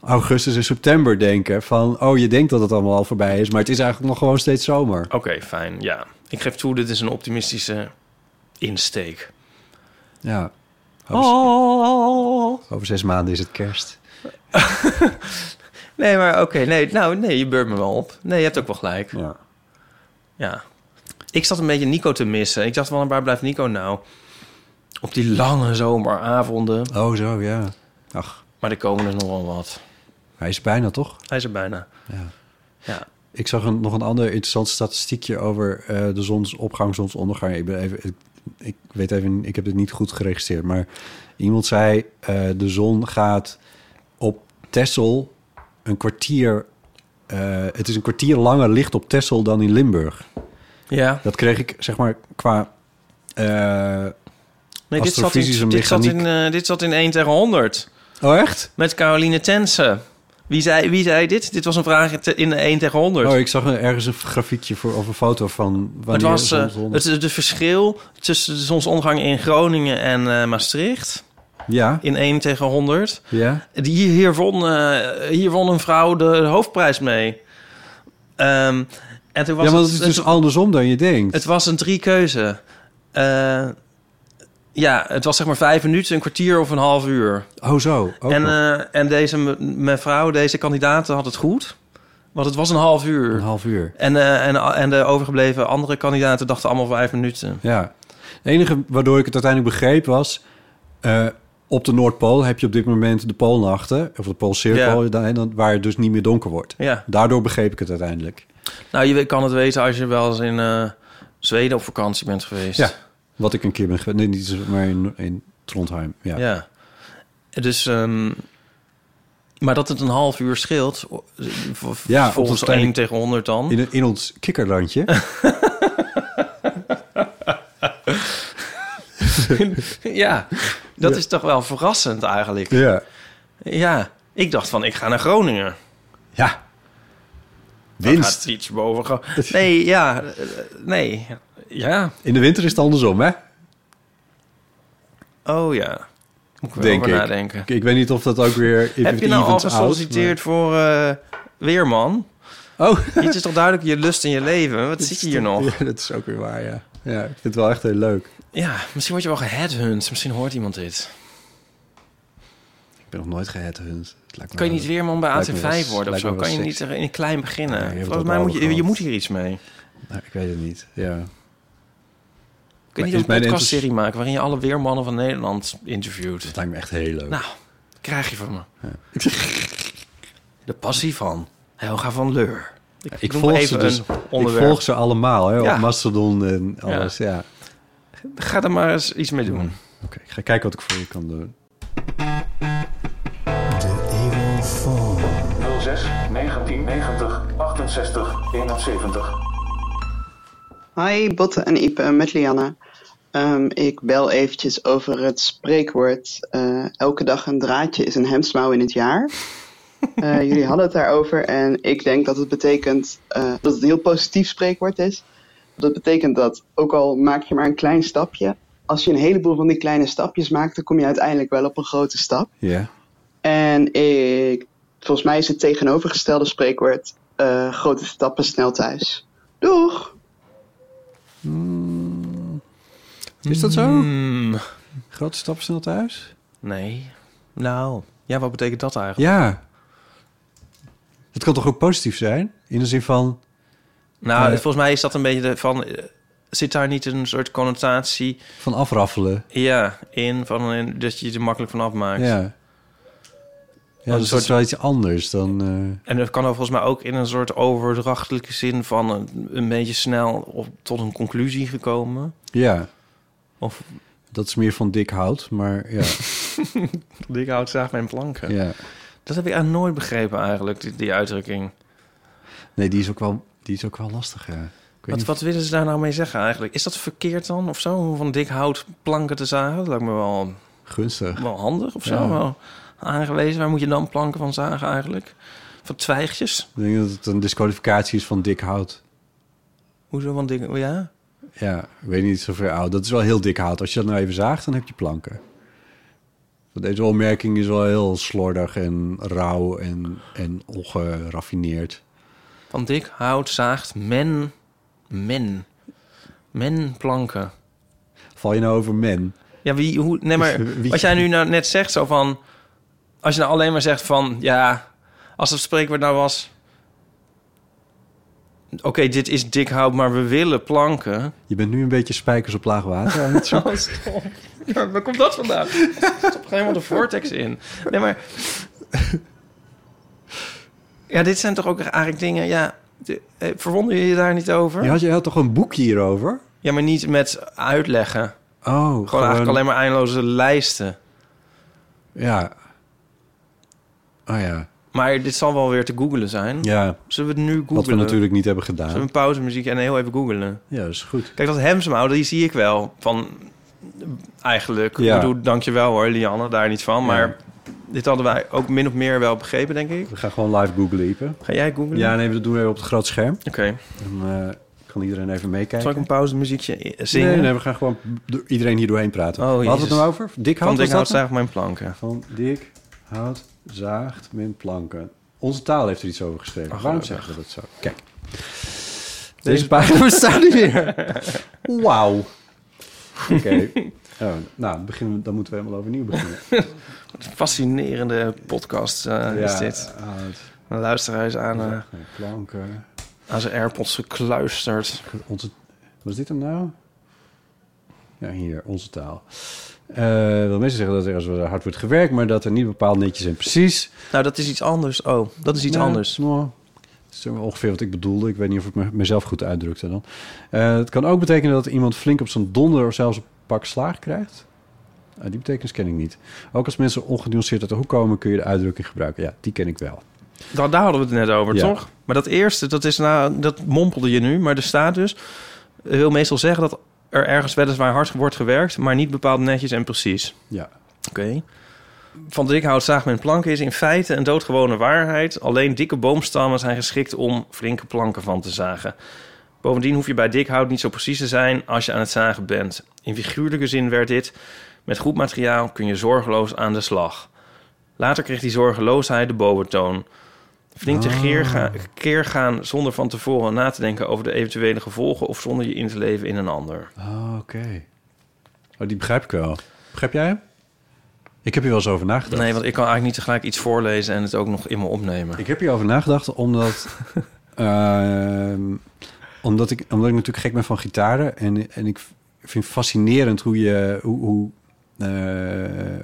[SPEAKER 1] augustus en september denken. Van, oh, je denkt dat het allemaal al voorbij is... maar het is eigenlijk nog gewoon steeds zomer.
[SPEAKER 2] Oké, fijn, ja. Ik geef toe, dit is een optimistische insteek.
[SPEAKER 1] Ja. Over,
[SPEAKER 2] Oh.
[SPEAKER 1] over zes maanden is het kerst.
[SPEAKER 2] Nee, maar oké, nee, nou, nee, je beurt me wel op. Nee, je hebt ook wel gelijk.
[SPEAKER 1] Ja.
[SPEAKER 2] Ja. Ik zat een beetje Nico te missen. Ik dacht wel, waar blijft Nico nou? Op die lange zomeravonden.
[SPEAKER 1] Oh, zo, ja. Ach,
[SPEAKER 2] Maar er komen er nog wel wat.
[SPEAKER 1] hij is bijna, toch?
[SPEAKER 2] Hij is er bijna.
[SPEAKER 1] Ja.
[SPEAKER 2] Ja.
[SPEAKER 1] Ik zag een, nog een ander interessant statistiekje over eh, de zonsopgang, zonsondergang. Ik, ben even, ik, ik weet even, ik heb het niet goed geregistreerd. Maar iemand zei, eh, de zon gaat op Texel een kwartier... eh, het is een kwartier langer licht op Texel dan in Limburg.
[SPEAKER 2] Ja.
[SPEAKER 1] Dat kreeg ik, zeg maar, qua... eh,
[SPEAKER 2] Nee, dit zat, in,
[SPEAKER 1] Astrofysische
[SPEAKER 2] dit, zat in,
[SPEAKER 1] mechaniek.
[SPEAKER 2] eh, dit zat in 1 tegen 100.
[SPEAKER 1] oh, echt?
[SPEAKER 2] Met Caroline Tensen. Wie zei, wie zei dit? Dit was een vraag te- in de 1 tegen 100.
[SPEAKER 1] Oh, ik zag een- ergens een grafiekje voor, of een foto van
[SPEAKER 2] het
[SPEAKER 1] wanneer
[SPEAKER 2] was
[SPEAKER 1] de
[SPEAKER 2] eh,
[SPEAKER 1] zon- zon-
[SPEAKER 2] het, het verschil tussen de zonsondergang in Groningen en eh, Maastricht.
[SPEAKER 1] Ja,
[SPEAKER 2] In 1 tegen 100.
[SPEAKER 1] ja.
[SPEAKER 2] Die hier won, eh, hier won een vrouw de hoofdprijs mee. Ehm, en toen was
[SPEAKER 1] ja, maar
[SPEAKER 2] het,
[SPEAKER 1] het is dus
[SPEAKER 2] het,
[SPEAKER 1] andersom dan je denkt.
[SPEAKER 2] het was een drie keuze. Eh, ja, het was zeg maar vijf minuten, een kwartier of een half uur.
[SPEAKER 1] oh, zo. ook
[SPEAKER 2] en,
[SPEAKER 1] nog.
[SPEAKER 2] eh, en deze me- mevrouw, deze kandidaat had het goed. Want het was een half uur.
[SPEAKER 1] Een half uur.
[SPEAKER 2] En, eh, en, en de overgebleven andere kandidaten dachten allemaal vijf minuten.
[SPEAKER 1] Ja. Het enige waardoor ik het uiteindelijk begreep was... eh, op de Noordpool heb je op dit moment de poolnachten... of de poolcirkel,
[SPEAKER 2] Ja.
[SPEAKER 1] dan- dan- waar het dus niet meer donker wordt.
[SPEAKER 2] Ja,
[SPEAKER 1] Daardoor begreep ik het uiteindelijk.
[SPEAKER 2] nou je kan het weten als je wel eens in eh, Zweden op vakantie bent geweest.
[SPEAKER 1] Ja. Wat ik een keer ben geweest. Nee, niet maar in, in Trondheim. Ja. ja.
[SPEAKER 2] Ja. Dus, ehm, maar dat het een half uur scheelt, v-
[SPEAKER 1] Ja, op
[SPEAKER 2] volgens
[SPEAKER 1] dat kleine-
[SPEAKER 2] 1 tegen 100 dan.
[SPEAKER 1] In, in ons kikkerlandje.
[SPEAKER 2] Ja, dat is toch wel verrassend eigenlijk.
[SPEAKER 1] ja.
[SPEAKER 2] Ja, ik dacht van, ik ga naar Groningen.
[SPEAKER 1] Ja.
[SPEAKER 2] Dan
[SPEAKER 1] Winst.
[SPEAKER 2] gaat iets boven. Gro- Nee, ja, eh, nee, ja,
[SPEAKER 1] In de winter is het andersom, hè?
[SPEAKER 2] oh ja. Moet ik wel
[SPEAKER 1] Denk
[SPEAKER 2] over
[SPEAKER 1] ik.
[SPEAKER 2] nadenken.
[SPEAKER 1] Ik, ik weet niet of dat ook weer...
[SPEAKER 2] Heb je nou al
[SPEAKER 1] evens out,
[SPEAKER 2] gesolliciteerd voor eh, Weerman?
[SPEAKER 1] maar- Oh,
[SPEAKER 2] Dit is toch duidelijk je lust in je leven? Wat zit je hier nog?
[SPEAKER 1] Ja, dat is ook weer waar, ja. Ja, ik vind het wel echt heel leuk.
[SPEAKER 2] Ja, misschien word je wel geheadhunt. Misschien hoort iemand dit.
[SPEAKER 1] Ik ben nog nooit gehethunt.
[SPEAKER 2] Kan je niet weerman bij
[SPEAKER 1] Lijkt me wel-
[SPEAKER 2] AT5 worden of
[SPEAKER 1] lijkt me
[SPEAKER 2] zo?
[SPEAKER 1] wel
[SPEAKER 2] Kan je niet
[SPEAKER 1] sexy.
[SPEAKER 2] er in het klein beginnen?
[SPEAKER 1] Ja, je hebt
[SPEAKER 2] Volgens
[SPEAKER 1] dat
[SPEAKER 2] mij moet
[SPEAKER 1] wel
[SPEAKER 2] je, je
[SPEAKER 1] gehad.
[SPEAKER 2] moet hier iets mee.
[SPEAKER 1] Nou, ik weet het niet. Ja.
[SPEAKER 2] Kun je
[SPEAKER 1] is
[SPEAKER 2] niet
[SPEAKER 1] mijn
[SPEAKER 2] een
[SPEAKER 1] interest-
[SPEAKER 2] podcastserie maken waarin je alle weermannen van Nederland interviewt?
[SPEAKER 1] Nou, Dat lijkt me echt heel leuk.
[SPEAKER 2] Nou, krijg je van me. de passie van Helga van Leur. Ik,
[SPEAKER 1] Ik
[SPEAKER 2] noem
[SPEAKER 1] volg,
[SPEAKER 2] maar
[SPEAKER 1] ze dus,
[SPEAKER 2] een
[SPEAKER 1] ik
[SPEAKER 2] onderwerp.
[SPEAKER 1] volg ze allemaal, hè,
[SPEAKER 2] Ja.
[SPEAKER 1] op Mastodon en alles. Ja.
[SPEAKER 2] Ga er maar eens iets mee doen.
[SPEAKER 1] Oké, ik ga kijken wat ik voor je kan doen.
[SPEAKER 3] 06 1990 68 71.
[SPEAKER 4] Hi, Botte en Ipe met Lianne. Ehm, ik bel eventjes over het spreekwoord: eh, elke dag een draadje is een hemdsmouw in het jaar. Eh, jullie hadden het daarover en ik denk dat het betekent eh, dat het een heel positief spreekwoord is. Dat betekent dat, ook al maak je maar een klein stapje, als je een heleboel van die kleine stapjes maakt, dan kom je uiteindelijk wel op een grote stap.
[SPEAKER 1] Ja.
[SPEAKER 4] En ik, volgens mij is het tegenovergestelde spreekwoord: eh, grote stappen snel thuis. Doeg!
[SPEAKER 1] Is dat zo?
[SPEAKER 2] Hmm,
[SPEAKER 1] Grote stap snel thuis?
[SPEAKER 2] nee. Nou, ja, wat betekent dat eigenlijk?
[SPEAKER 1] Ja. Het kan toch ook positief zijn? In de zin van...
[SPEAKER 2] Nou,
[SPEAKER 1] Eh.
[SPEAKER 2] volgens mij is dat een beetje de, van... eh, Zit daar niet een soort connotatie
[SPEAKER 1] van afraffelen.
[SPEAKER 2] ja, in van eh, dat je je er makkelijk van afmaakt?
[SPEAKER 1] Ja. Ja,
[SPEAKER 2] een
[SPEAKER 1] dus dat
[SPEAKER 2] soort-
[SPEAKER 1] is wel iets anders dan... eh,
[SPEAKER 2] En dat kan ook volgens mij ook in een soort overdrachtelijke zin van een, een beetje snel op, tot een conclusie gekomen.
[SPEAKER 1] ja,
[SPEAKER 2] Of
[SPEAKER 1] dat is meer van dik hout, maar ja.
[SPEAKER 2] dik hout zaagt mijn planken.
[SPEAKER 1] ja.
[SPEAKER 2] Dat heb ik eigenlijk nooit begrepen eigenlijk, die, die uitdrukking.
[SPEAKER 1] Nee, die is ook wel, die is ook wel lastig, ja. Ik weet
[SPEAKER 2] Wat,
[SPEAKER 1] niet-
[SPEAKER 2] wat willen ze daar nou mee zeggen eigenlijk? Is dat verkeerd dan of zo? Om van dik hout planken te zagen? Dat lijkt me wel,
[SPEAKER 1] Gunstig.
[SPEAKER 2] wel handig of zo.
[SPEAKER 1] Ja.
[SPEAKER 2] Wel aangewezen. Waar moet je dan planken van zagen eigenlijk? Van twijgjes?
[SPEAKER 1] Ik denk dat het een disqualificatie is van dik hout.
[SPEAKER 2] Hoezo van dik... Ja?
[SPEAKER 1] Ja, ik weet niet zover oud. Dat is wel heel dik hout. Als je dat nou even zaagt, dan heb je planken. Want Deze opmerking is wel heel slordig en rauw en, en ongeraffineerd.
[SPEAKER 2] Van dik hout zaagt men... Men. Men planken.
[SPEAKER 1] Val je nou over men?
[SPEAKER 2] Ja, wie, hoe, nee, maar
[SPEAKER 1] Wie-
[SPEAKER 2] wat jij nu nou net zegt, zo van... Als je nou alleen maar zegt van, ja, als het spreekwoord nou was... Oké, dit is dik hout, maar we willen planken.
[SPEAKER 1] Je bent nu een beetje spijkers op laag water aan het zoeken.
[SPEAKER 2] Ja, waar komt dat vandaan? Er zit helemaal de vortex in. Nee, maar... Ja, dit zijn toch ook eigenlijk dingen, ja... de- eh, Verwonder je je daar niet over?
[SPEAKER 1] Je had, je had toch een boekje hierover?
[SPEAKER 2] Ja, maar niet met uitleggen. Gewoon,
[SPEAKER 1] Oh,
[SPEAKER 2] eigenlijk alleen maar eindeloze lijsten.
[SPEAKER 1] Ja. Oh ja.
[SPEAKER 2] Maar dit zal wel weer te googelen zijn.
[SPEAKER 1] Ja,
[SPEAKER 2] Zullen we het nu googelen?
[SPEAKER 1] wat we natuurlijk niet hebben gedaan.
[SPEAKER 2] Zullen we een pauzemuziek en heel even googelen?
[SPEAKER 1] Ja, dat is goed.
[SPEAKER 2] Kijk, dat hemsmouw, die zie ik wel. Van, eigenlijk,
[SPEAKER 1] Ja.
[SPEAKER 2] ik bedoel, dankjewel hoor, Lianne, daar niet van. Maar dit hadden wij ook min of meer wel begrepen, denk ik.
[SPEAKER 1] We gaan gewoon live googlen, Ipe.
[SPEAKER 2] Ga jij googelen?
[SPEAKER 1] Ja,
[SPEAKER 2] Oké.
[SPEAKER 1] nee, dat doen we even op het groot scherm. Dan eh, kan iedereen even meekijken.
[SPEAKER 2] Zal ik een pauzemuziekje i- zingen?
[SPEAKER 1] Nee, nee, we gaan gewoon door iedereen hier doorheen praten.
[SPEAKER 2] Oh,
[SPEAKER 1] Wat hadden we
[SPEAKER 2] Jezus.
[SPEAKER 1] het nou over? Dik hout
[SPEAKER 2] Van
[SPEAKER 1] was
[SPEAKER 2] Dik Hout
[SPEAKER 1] dat nou?
[SPEAKER 2] zagen mijn planken.
[SPEAKER 1] Van dik hout zaagt men planken. Onze taal heeft er iets over geschreven.
[SPEAKER 2] Ach,
[SPEAKER 1] Waarom
[SPEAKER 2] Oh, gelukkig.
[SPEAKER 1] zeggen we dat zo? Kijk. Deze pagina bestaat niet meer. Wauw. Oké. Oh, nou, beginnen we, dan moeten we helemaal overnieuw beginnen.
[SPEAKER 2] Fascinerende podcast eh, is dit.
[SPEAKER 1] hout
[SPEAKER 2] Een luisteraar is aan, eh,
[SPEAKER 1] zaagt men planken.
[SPEAKER 2] aan zijn AirPods gekluisterd.
[SPEAKER 1] Onze, was dit hem nou? Ja, hier, onze taal. Eh wil mensen zeggen dat er ergens hard wordt gewerkt, maar dat er niet bepaald netjes en precies.
[SPEAKER 2] Nou, dat is iets anders. Oh, dat is iets
[SPEAKER 1] Nou,
[SPEAKER 2] anders.
[SPEAKER 1] nou, dat is ongeveer wat ik bedoelde. Ik weet niet of ik me- mezelf goed uitdrukte dan. Eh, het kan ook betekenen dat iemand flink op zijn donder of zelfs een pak slaag krijgt. Ah, die betekenis ken ik niet. Ook als mensen ongenuanceerd uit de hoek komen, kun je de uitdrukking gebruiken. Ja, die ken ik wel.
[SPEAKER 2] Daar, daar hadden we het net over,
[SPEAKER 1] Ja.
[SPEAKER 2] toch? Maar dat eerste, dat, is nou, dat mompelde je nu. Maar er staat dus... eh, wil meestal zeggen dat er ergens weliswaar hard wordt gewerkt... maar niet bepaald netjes en precies.
[SPEAKER 1] Ja.
[SPEAKER 2] Oké. Van dikhout zaag men planken is in feite een doodgewone waarheid. Alleen dikke boomstammen zijn geschikt om flinke planken van te zagen. Bovendien hoef je bij dikhout niet zo precies te zijn als je aan het zagen bent. In figuurlijke zin werd dit... met goed materiaal kun je zorgeloos aan de slag. Later kreeg die zorgeloosheid de boventoon. Flink te geer ga- keer gaan zonder van tevoren na te denken over de eventuele gevolgen... of zonder je in te leven in een ander.
[SPEAKER 1] Ah, oké. Oh, die begrijp ik wel. Begrijp jij hem? Ik heb hier wel eens over nagedacht.
[SPEAKER 2] Nee, want ik kan eigenlijk niet tegelijk iets voorlezen en het ook nog in me opnemen.
[SPEAKER 1] Ik heb hierover nagedacht omdat, ehm, omdat, ik, omdat ik natuurlijk gek ben van gitaren. En, en ik vind fascinerend hoe je, hoe, hoe eh, eh,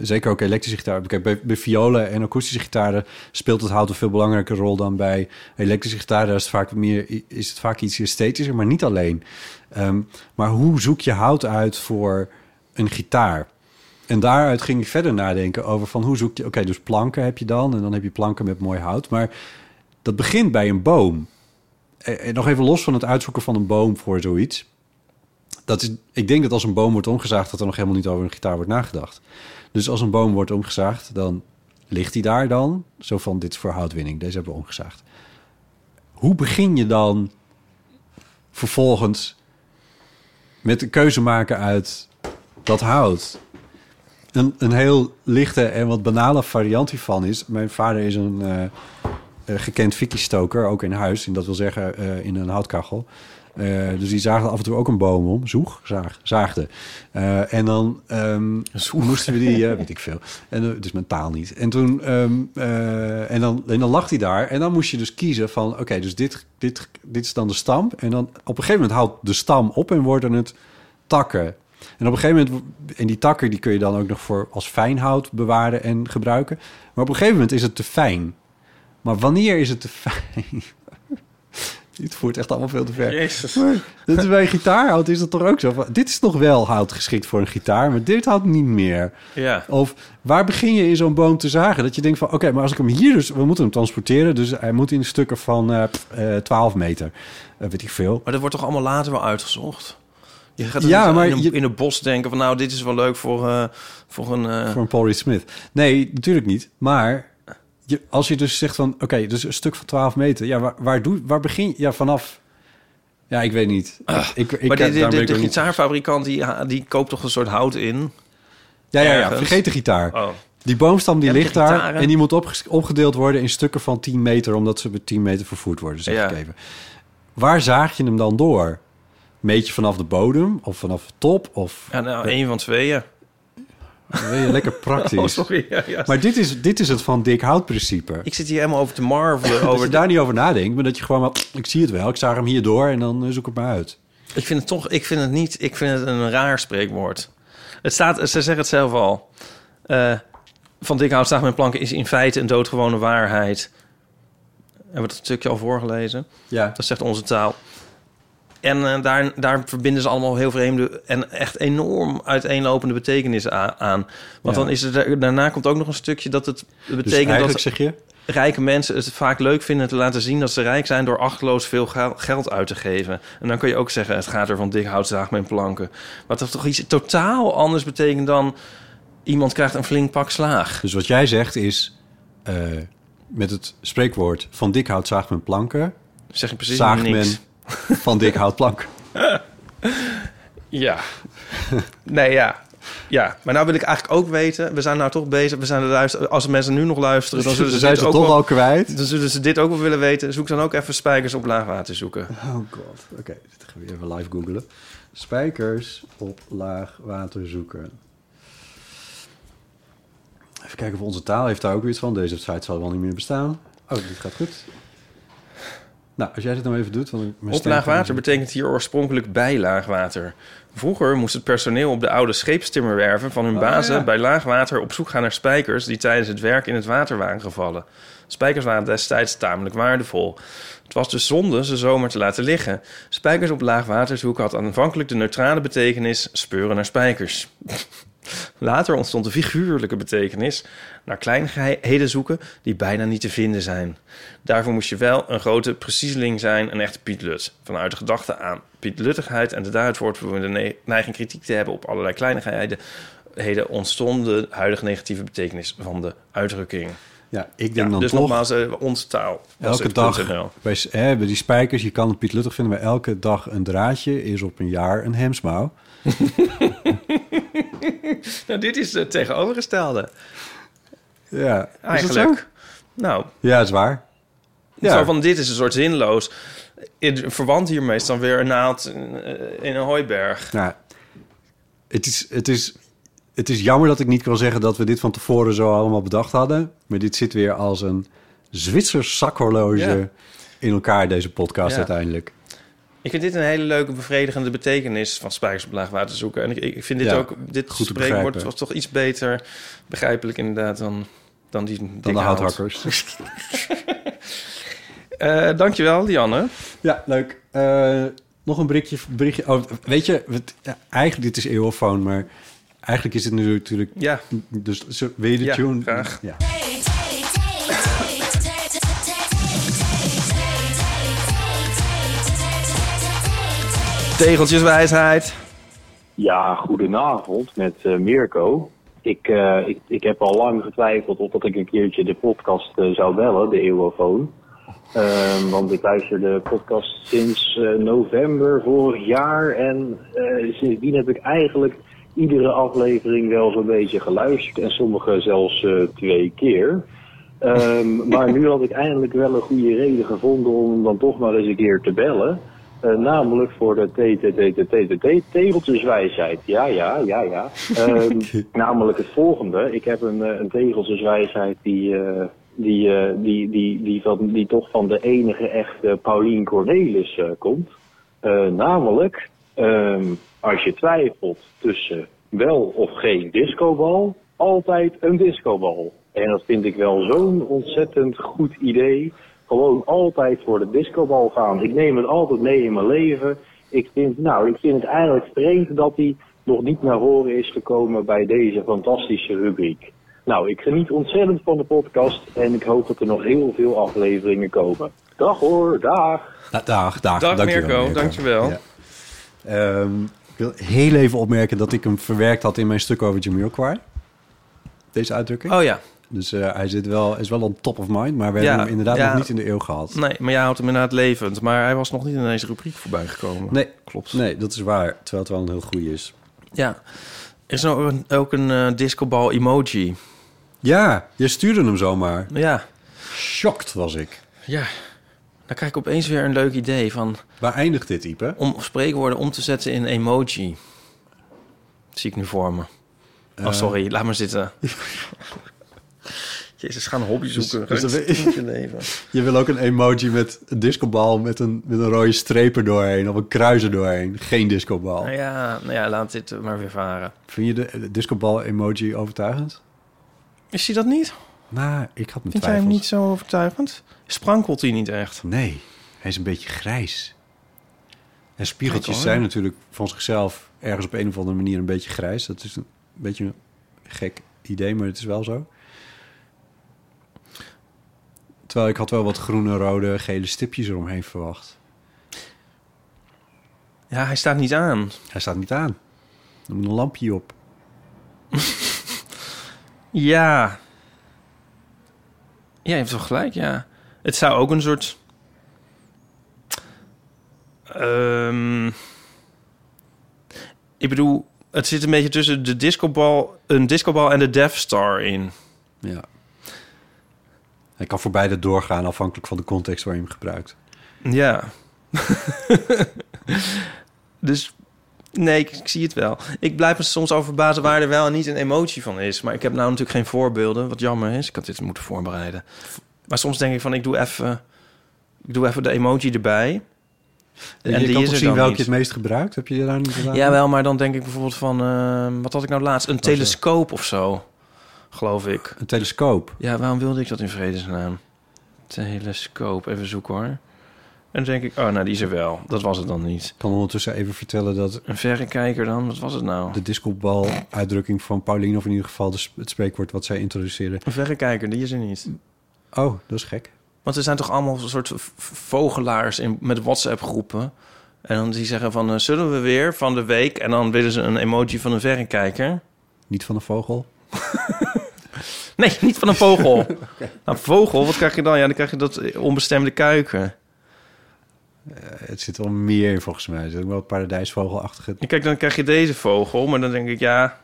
[SPEAKER 1] zeker ook elektrische gitaar. Kijk, bij, bij violen en akoestische gitaren speelt het hout een veel belangrijke rol dan bij elektrische gitaren. Is het vaak, meer, is het vaak iets esthetischer, maar niet alleen. Ehm, maar hoe zoek je hout uit voor een gitaar? En daaruit ging ik verder nadenken over van hoe zoek je... Oké, dus planken heb je dan en dan heb je planken met mooi hout. Maar dat begint bij een boom. En, en nog even los van het uitzoeken van een boom voor zoiets dat is, ik denk dat als een boom wordt omgezaagd, dat er nog helemaal niet over een gitaar wordt nagedacht. Dus als een boom wordt omgezaagd, dan ligt hij daar dan. Zo van, dit is voor houtwinning, deze hebben we omgezaagd. Hoe begin je dan vervolgens met de keuze maken uit dat hout? Een, een heel lichte en wat banale variant hiervan is... mijn vader is een eh, eh, gekend fikkie-stoker, ook in huis. En dat wil zeggen eh, in een houtkachel. Eh, dus die zaagde af en toe ook een boom om. Zoeg, zaag, zaagde. Eh, en dan ehm, moesten we die, eh, weet ik veel. En, eh, het is mentaal niet. En toen, ehm, eh, en dan, en dan lag hij daar. En dan moest je dus kiezen van, oké, dus dit, dit, dit is dan de stam. En dan op een gegeven moment houdt de stam op en worden het takken. En op een gegeven moment, en die takken die kun je dan ook nog voor als fijnhout bewaren en gebruiken. Maar op een gegeven moment is het te fijn. Maar wanneer is het te fijn? Dit voert echt allemaal veel te ver.
[SPEAKER 2] Jezus.
[SPEAKER 1] Dat is bij gitaarhout is dat toch ook zo? van, Dit is nog wel hout geschikt voor een gitaar, maar dit hout niet meer.
[SPEAKER 2] Ja.
[SPEAKER 1] Of waar begin je in zo'n boom te zagen? Dat je denkt van, oké, maar als ik hem hier dus... We moeten hem transporteren, dus hij moet in stukken van eh, pff, eh, 12 meter. Eh, weet ik veel.
[SPEAKER 2] Maar dat wordt toch allemaal later wel uitgezocht? Je gaat toch
[SPEAKER 1] Ja,
[SPEAKER 2] niet
[SPEAKER 1] maar
[SPEAKER 2] in, een,
[SPEAKER 1] je-
[SPEAKER 2] in een bos denken van... nou, dit is wel leuk voor, eh, voor een... eh,
[SPEAKER 1] Voor een Paul Reed Smith. Nee, natuurlijk niet. Maar je, als je dus zegt van, oké, dus een stuk van 12 meter. Ja, waar, waar, doe, waar begin je? Ja, vanaf... Ja, ik weet niet. ik, ik,
[SPEAKER 2] Ah, maar
[SPEAKER 1] daar
[SPEAKER 2] de, de,
[SPEAKER 1] ben
[SPEAKER 2] de,
[SPEAKER 1] ik ook niet-
[SPEAKER 2] gitaarfabrikant die, die koopt toch een soort hout in?
[SPEAKER 1] Ja, ja, ja,
[SPEAKER 2] ergens.
[SPEAKER 1] vergeet de gitaar.
[SPEAKER 2] Oh.
[SPEAKER 1] Die boomstam die
[SPEAKER 2] Ja,
[SPEAKER 1] ligt
[SPEAKER 2] die
[SPEAKER 1] daar
[SPEAKER 2] gitaren.
[SPEAKER 1] en die moet opges- opgedeeld worden in stukken van 10 meter, omdat ze met 10 meter vervoerd worden, zeg
[SPEAKER 2] Ja.
[SPEAKER 1] ik even. Waar zaag je hem dan door? Meet je vanaf de bodem of vanaf de top? Of
[SPEAKER 2] Ja, nou, één van tweeën.
[SPEAKER 1] ben je lekker
[SPEAKER 2] Oh,
[SPEAKER 1] praktisch?
[SPEAKER 2] sorry. Ja, ja.
[SPEAKER 1] maar dit is, dit is het van dik hout principe.
[SPEAKER 2] Ik zit hier helemaal over te marvelen.
[SPEAKER 1] Als
[SPEAKER 2] over
[SPEAKER 1] je Dus daar niet over nadenkt, maar dat je gewoon maar, ik zie het wel, ik zaag hem hier door en dan eh, zoek ik het maar uit.
[SPEAKER 2] Ik vind het toch, ik vind het niet, ik vind het een raar spreekwoord. Het staat, ze zeggen het zelf al. Eh, van dik hout staat mijn planken is in feite een doodgewone waarheid. Hebben we dat stukje al voorgelezen?
[SPEAKER 1] Ja.
[SPEAKER 2] Dat zegt onze taal. En eh, daar, daar verbinden ze allemaal heel vreemde en echt enorm uiteenlopende betekenissen a- aan. Want
[SPEAKER 1] Ja.
[SPEAKER 2] dan is er, da- daarna komt ook nog een stukje dat het betekent
[SPEAKER 1] Dus eigenlijk
[SPEAKER 2] dat
[SPEAKER 1] zeg je,
[SPEAKER 2] rijke mensen het vaak leuk vinden te laten zien dat ze rijk zijn door achteloos veel ga- geld uit te geven. En dan kun je ook zeggen: het gaat er van dik hout zaag mijn planken. Wat dat toch iets totaal anders betekent dan iemand krijgt een flink pak slaag.
[SPEAKER 1] dus wat jij zegt is, eh, met het spreekwoord van dik hout zaagt men planken,
[SPEAKER 2] Zeg je precies
[SPEAKER 1] zaagt
[SPEAKER 2] niks.
[SPEAKER 1] men van dik hout planken.
[SPEAKER 2] Ja. nee, ja. Ja, maar nou wil ik eigenlijk ook weten, we zijn nou toch bezig, we zijn er luisteren, als mensen nu nog luisteren, dan zullen ze,
[SPEAKER 1] zijn
[SPEAKER 2] dit
[SPEAKER 1] ze
[SPEAKER 2] ook
[SPEAKER 1] toch
[SPEAKER 2] wel,
[SPEAKER 1] al kwijt.
[SPEAKER 2] dan zullen ze dit ook wel willen weten. Zoek dan ook even spijkers op laag water zoeken.
[SPEAKER 1] Oh god. Oké, dit gaan we even live googlen. Spijkers op laag water zoeken. Even kijken of onze taal heeft daar ook weer iets van. Deze site zal wel niet meer bestaan. Oh, dit gaat goed. Nou, als jij dit nou even doet. Want mijn
[SPEAKER 2] Op
[SPEAKER 1] stem-
[SPEAKER 2] laagwater betekent hier oorspronkelijk bij laagwater. Vroeger moest het personeel op de oude scheepstimmerwerven van hun bazen
[SPEAKER 1] Oh, ja.
[SPEAKER 2] bij laagwater op zoek gaan naar spijkers die tijdens het werk in het water waren gevallen. Spijkers waren destijds tamelijk waardevol. Het was dus zonde ze zomaar te laten liggen. Spijkers op laagwater zoeken had aanvankelijk de neutrale betekenis speuren naar spijkers. Later ontstond de figuurlijke betekenis naar kleinigheden zoeken die bijna niet te vinden zijn. Daarvoor moest je wel een grote preciezeling zijn, een echte Piet Lut. Vanuit de gedachte aan Piet Luttigheid en de daaruit voortvloeiende ne- neiging kritiek te hebben op allerlei kleinigheden heden ontstond de huidige negatieve betekenis van de uitdrukking.
[SPEAKER 1] Ja, ik denk
[SPEAKER 2] Ja,
[SPEAKER 1] dan
[SPEAKER 2] dus
[SPEAKER 1] toch.
[SPEAKER 2] nogmaals, eh, onze taal. was
[SPEAKER 1] Elke
[SPEAKER 2] het
[SPEAKER 1] dag
[SPEAKER 2] .nl.
[SPEAKER 1] bij, s- hè, bij die spijkers, je kan het Piet Luttig vinden, maar elke dag een draadje is op een jaar een hemsmouw.
[SPEAKER 2] Nou, dit is het tegenovergestelde,
[SPEAKER 1] Ja, is dat
[SPEAKER 2] eigenlijk.
[SPEAKER 1] zo?
[SPEAKER 2] Nou,
[SPEAKER 1] Ja, dat is waar.
[SPEAKER 2] Zo van, dit is een soort zinloos. In, verwant hiermee is dan weer een naald eh, in een hooiberg.
[SPEAKER 1] Nou, het is, het, is, het is jammer dat ik niet kan zeggen dat we dit van tevoren zo allemaal bedacht hadden. Maar dit zit weer als een Zwitsers zakhorloge
[SPEAKER 2] Ja.
[SPEAKER 1] in elkaar, deze podcast
[SPEAKER 2] Ja.
[SPEAKER 1] uiteindelijk.
[SPEAKER 2] Ik vind dit een hele leuke bevredigende betekenis van spijkers op laag water zoeken. En ik, ik vind dit
[SPEAKER 1] Ja,
[SPEAKER 2] ook, dit
[SPEAKER 1] goed te
[SPEAKER 2] spreekwoord
[SPEAKER 1] begrijpen.
[SPEAKER 2] was toch iets beter begrijpelijk inderdaad dan, dan die dikke
[SPEAKER 1] Dan de
[SPEAKER 2] hout.
[SPEAKER 1] houthakkers.
[SPEAKER 2] Eh, dankjewel, Lianne.
[SPEAKER 1] Ja, leuk. Eh, nog een berichtje, berichtje. Oh, weet je, het, ja, eigenlijk, dit is eeuwofoon, maar eigenlijk is het nu natuurlijk...
[SPEAKER 2] Ja,
[SPEAKER 1] Dus zo- wil je de
[SPEAKER 2] Ja,
[SPEAKER 1] tune?
[SPEAKER 2] graag.
[SPEAKER 1] Ja.
[SPEAKER 2] tegeltjeswijsheid.
[SPEAKER 5] Ja, goedenavond met eh, Mirko. Ik, eh, ik, ik heb al lang getwijfeld of dat ik een keertje de podcast eh, zou bellen, de Eeuwofoon. Ehm, want ik luister de podcast sinds eh, november vorig jaar. En eh, sindsdien heb ik eigenlijk iedere aflevering wel zo'n beetje geluisterd. En sommige zelfs eh, twee keer. Ehm, maar nu had ik eindelijk wel een goede reden gevonden om dan toch maar eens een keer te bellen. Eh, namelijk voor de TTTTTT tegeltjeswijsheid. Ja, ja, ja, ja. Ehm, namelijk het volgende. Ik heb een, eh, een tegeltjeswijsheid die, eh, die, eh, die, die, die, van, die toch van de enige echte Paulien Cornelis eh, komt. Eh, namelijk, ehm, als je twijfelt tussen wel of geen discobal, altijd een discobal. En dat vind ik wel zo'n ontzettend goed idee. Gewoon altijd voor de discobal gaan. Ik neem het altijd mee in mijn leven. Ik vind, nou, ik vind het eigenlijk vreemd dat hij nog niet naar horen is gekomen bij deze fantastische rubriek. Nou, ik geniet ontzettend van de podcast en ik hoop dat er nog heel veel afleveringen komen. Dag hoor, dag!
[SPEAKER 1] Da- Dag, dag.
[SPEAKER 2] Dag,
[SPEAKER 1] Dankjewel,
[SPEAKER 2] Mirko. Dankjewel.
[SPEAKER 1] Ja. Ehm, ik wil heel even opmerken dat ik hem verwerkt had in mijn stuk over Jamiroquai. Deze uitdrukking.
[SPEAKER 2] Oh ja,
[SPEAKER 1] Dus eh, hij zit wel, is wel on top of mind, maar we
[SPEAKER 2] Ja,
[SPEAKER 1] hebben hem inderdaad
[SPEAKER 2] ja.
[SPEAKER 1] nog niet in de eeuw gehad.
[SPEAKER 2] nee, maar jij houdt hem inderdaad levend. Maar hij was nog niet in deze rubriek voorbij gekomen.
[SPEAKER 1] Nee, klopt. Nee, dat is waar. Terwijl het wel een heel goede is.
[SPEAKER 2] Ja. Er is ook een, ook een eh, discobal emoji.
[SPEAKER 1] Ja, je stuurde hem zomaar.
[SPEAKER 2] Ja,
[SPEAKER 1] Shocked was ik.
[SPEAKER 2] ja. Dan krijg ik opeens weer een leuk idee van
[SPEAKER 1] Waar eindigt dit, Ipe?
[SPEAKER 2] om spreekwoorden om te zetten in emoji. Dat zie ik nu voor me. Oh, sorry. Laat maar zitten. Jezus, gaan een hobby zoeken.
[SPEAKER 1] dus dat we-
[SPEAKER 2] Goed leven.
[SPEAKER 1] Je wil ook een emoji met een discobal met een, met een rode streep er doorheen of een kruis er doorheen. Geen discobal.
[SPEAKER 2] Nou ja, nou ja, laat dit maar weer varen.
[SPEAKER 1] Vind je de, de discobal emoji overtuigend?
[SPEAKER 2] Is hij dat niet?
[SPEAKER 1] Nou, ik had mijn
[SPEAKER 2] Vind jij
[SPEAKER 1] twijfels.
[SPEAKER 2] hem niet zo overtuigend? Sprankelt hij niet echt?
[SPEAKER 1] Nee, hij is een beetje grijs. En
[SPEAKER 2] Kijk
[SPEAKER 1] spiegeltjes
[SPEAKER 2] al,
[SPEAKER 1] zijn
[SPEAKER 2] ja.
[SPEAKER 1] natuurlijk van zichzelf ergens op een of andere manier een beetje grijs. Dat is een beetje een gek idee, maar het is wel zo. Terwijl ik had wel wat groene, rode, gele stipjes eromheen verwacht.
[SPEAKER 2] Ja, hij staat niet aan.
[SPEAKER 1] Hij staat niet aan. Er moet een lampje op.
[SPEAKER 2] Ja. Ja, je hebt wel gelijk, ja. Het zou ook een soort... Ehm, ik bedoel, het zit een beetje tussen de discobal, een discobal en de Death Star in.
[SPEAKER 1] Ja. Hij kan voor beide doorgaan afhankelijk van de context waar je hem gebruikt.
[SPEAKER 2] Ja. dus nee, ik, ik zie het wel. Ik blijf me soms over verbazen waar er wel en niet een emotie van is. Maar ik heb nou natuurlijk geen voorbeelden, wat jammer is. Ik had dit moeten voorbereiden. Maar soms denk ik van, ik doe even, ik doe even de emotie erbij.
[SPEAKER 1] En je kan toch zien
[SPEAKER 2] dan
[SPEAKER 1] welke
[SPEAKER 2] niet.
[SPEAKER 1] je het meest gebruikt? Heb je daar niet gedaan?
[SPEAKER 2] Jawel, maar dan denk ik bijvoorbeeld van, ehm, wat had ik nou laatst? Een
[SPEAKER 1] zo.
[SPEAKER 2] telescoop of zo, geloof ik.
[SPEAKER 1] Een telescoop.
[SPEAKER 2] Ja, waarom wilde ik dat in vredesnaam? Telescoop, even zoeken hoor. En dan denk ik, oh nou, die is er wel. Dat was het dan niet.
[SPEAKER 1] Ik kan ondertussen even vertellen dat
[SPEAKER 2] Een verrekijker dan? Wat was het nou?
[SPEAKER 1] de discobal-uitdrukking van Pauline... of in ieder geval de sp- het spreekwoord wat zij introduceerde.
[SPEAKER 2] Een verrekijker, die is er niet.
[SPEAKER 1] Oh, dat is gek.
[SPEAKER 2] Want er zijn toch allemaal soort v- vogelaars in, met WhatsApp-groepen. En dan die zeggen van, eh, zullen we weer van de week? En dan willen ze een emoji van een verrekijker.
[SPEAKER 1] Niet van een vogel.
[SPEAKER 2] Nee, niet van een vogel. Nou, vogel, wat krijg je dan? Ja, dan krijg je dat eh, onbestemde kuiken.
[SPEAKER 1] Eh, Het zit al meer in volgens mij. Het is ook wel paradijsvogelachtige.
[SPEAKER 2] En kijk, dan krijg je deze vogel. Maar dan denk ik, ja,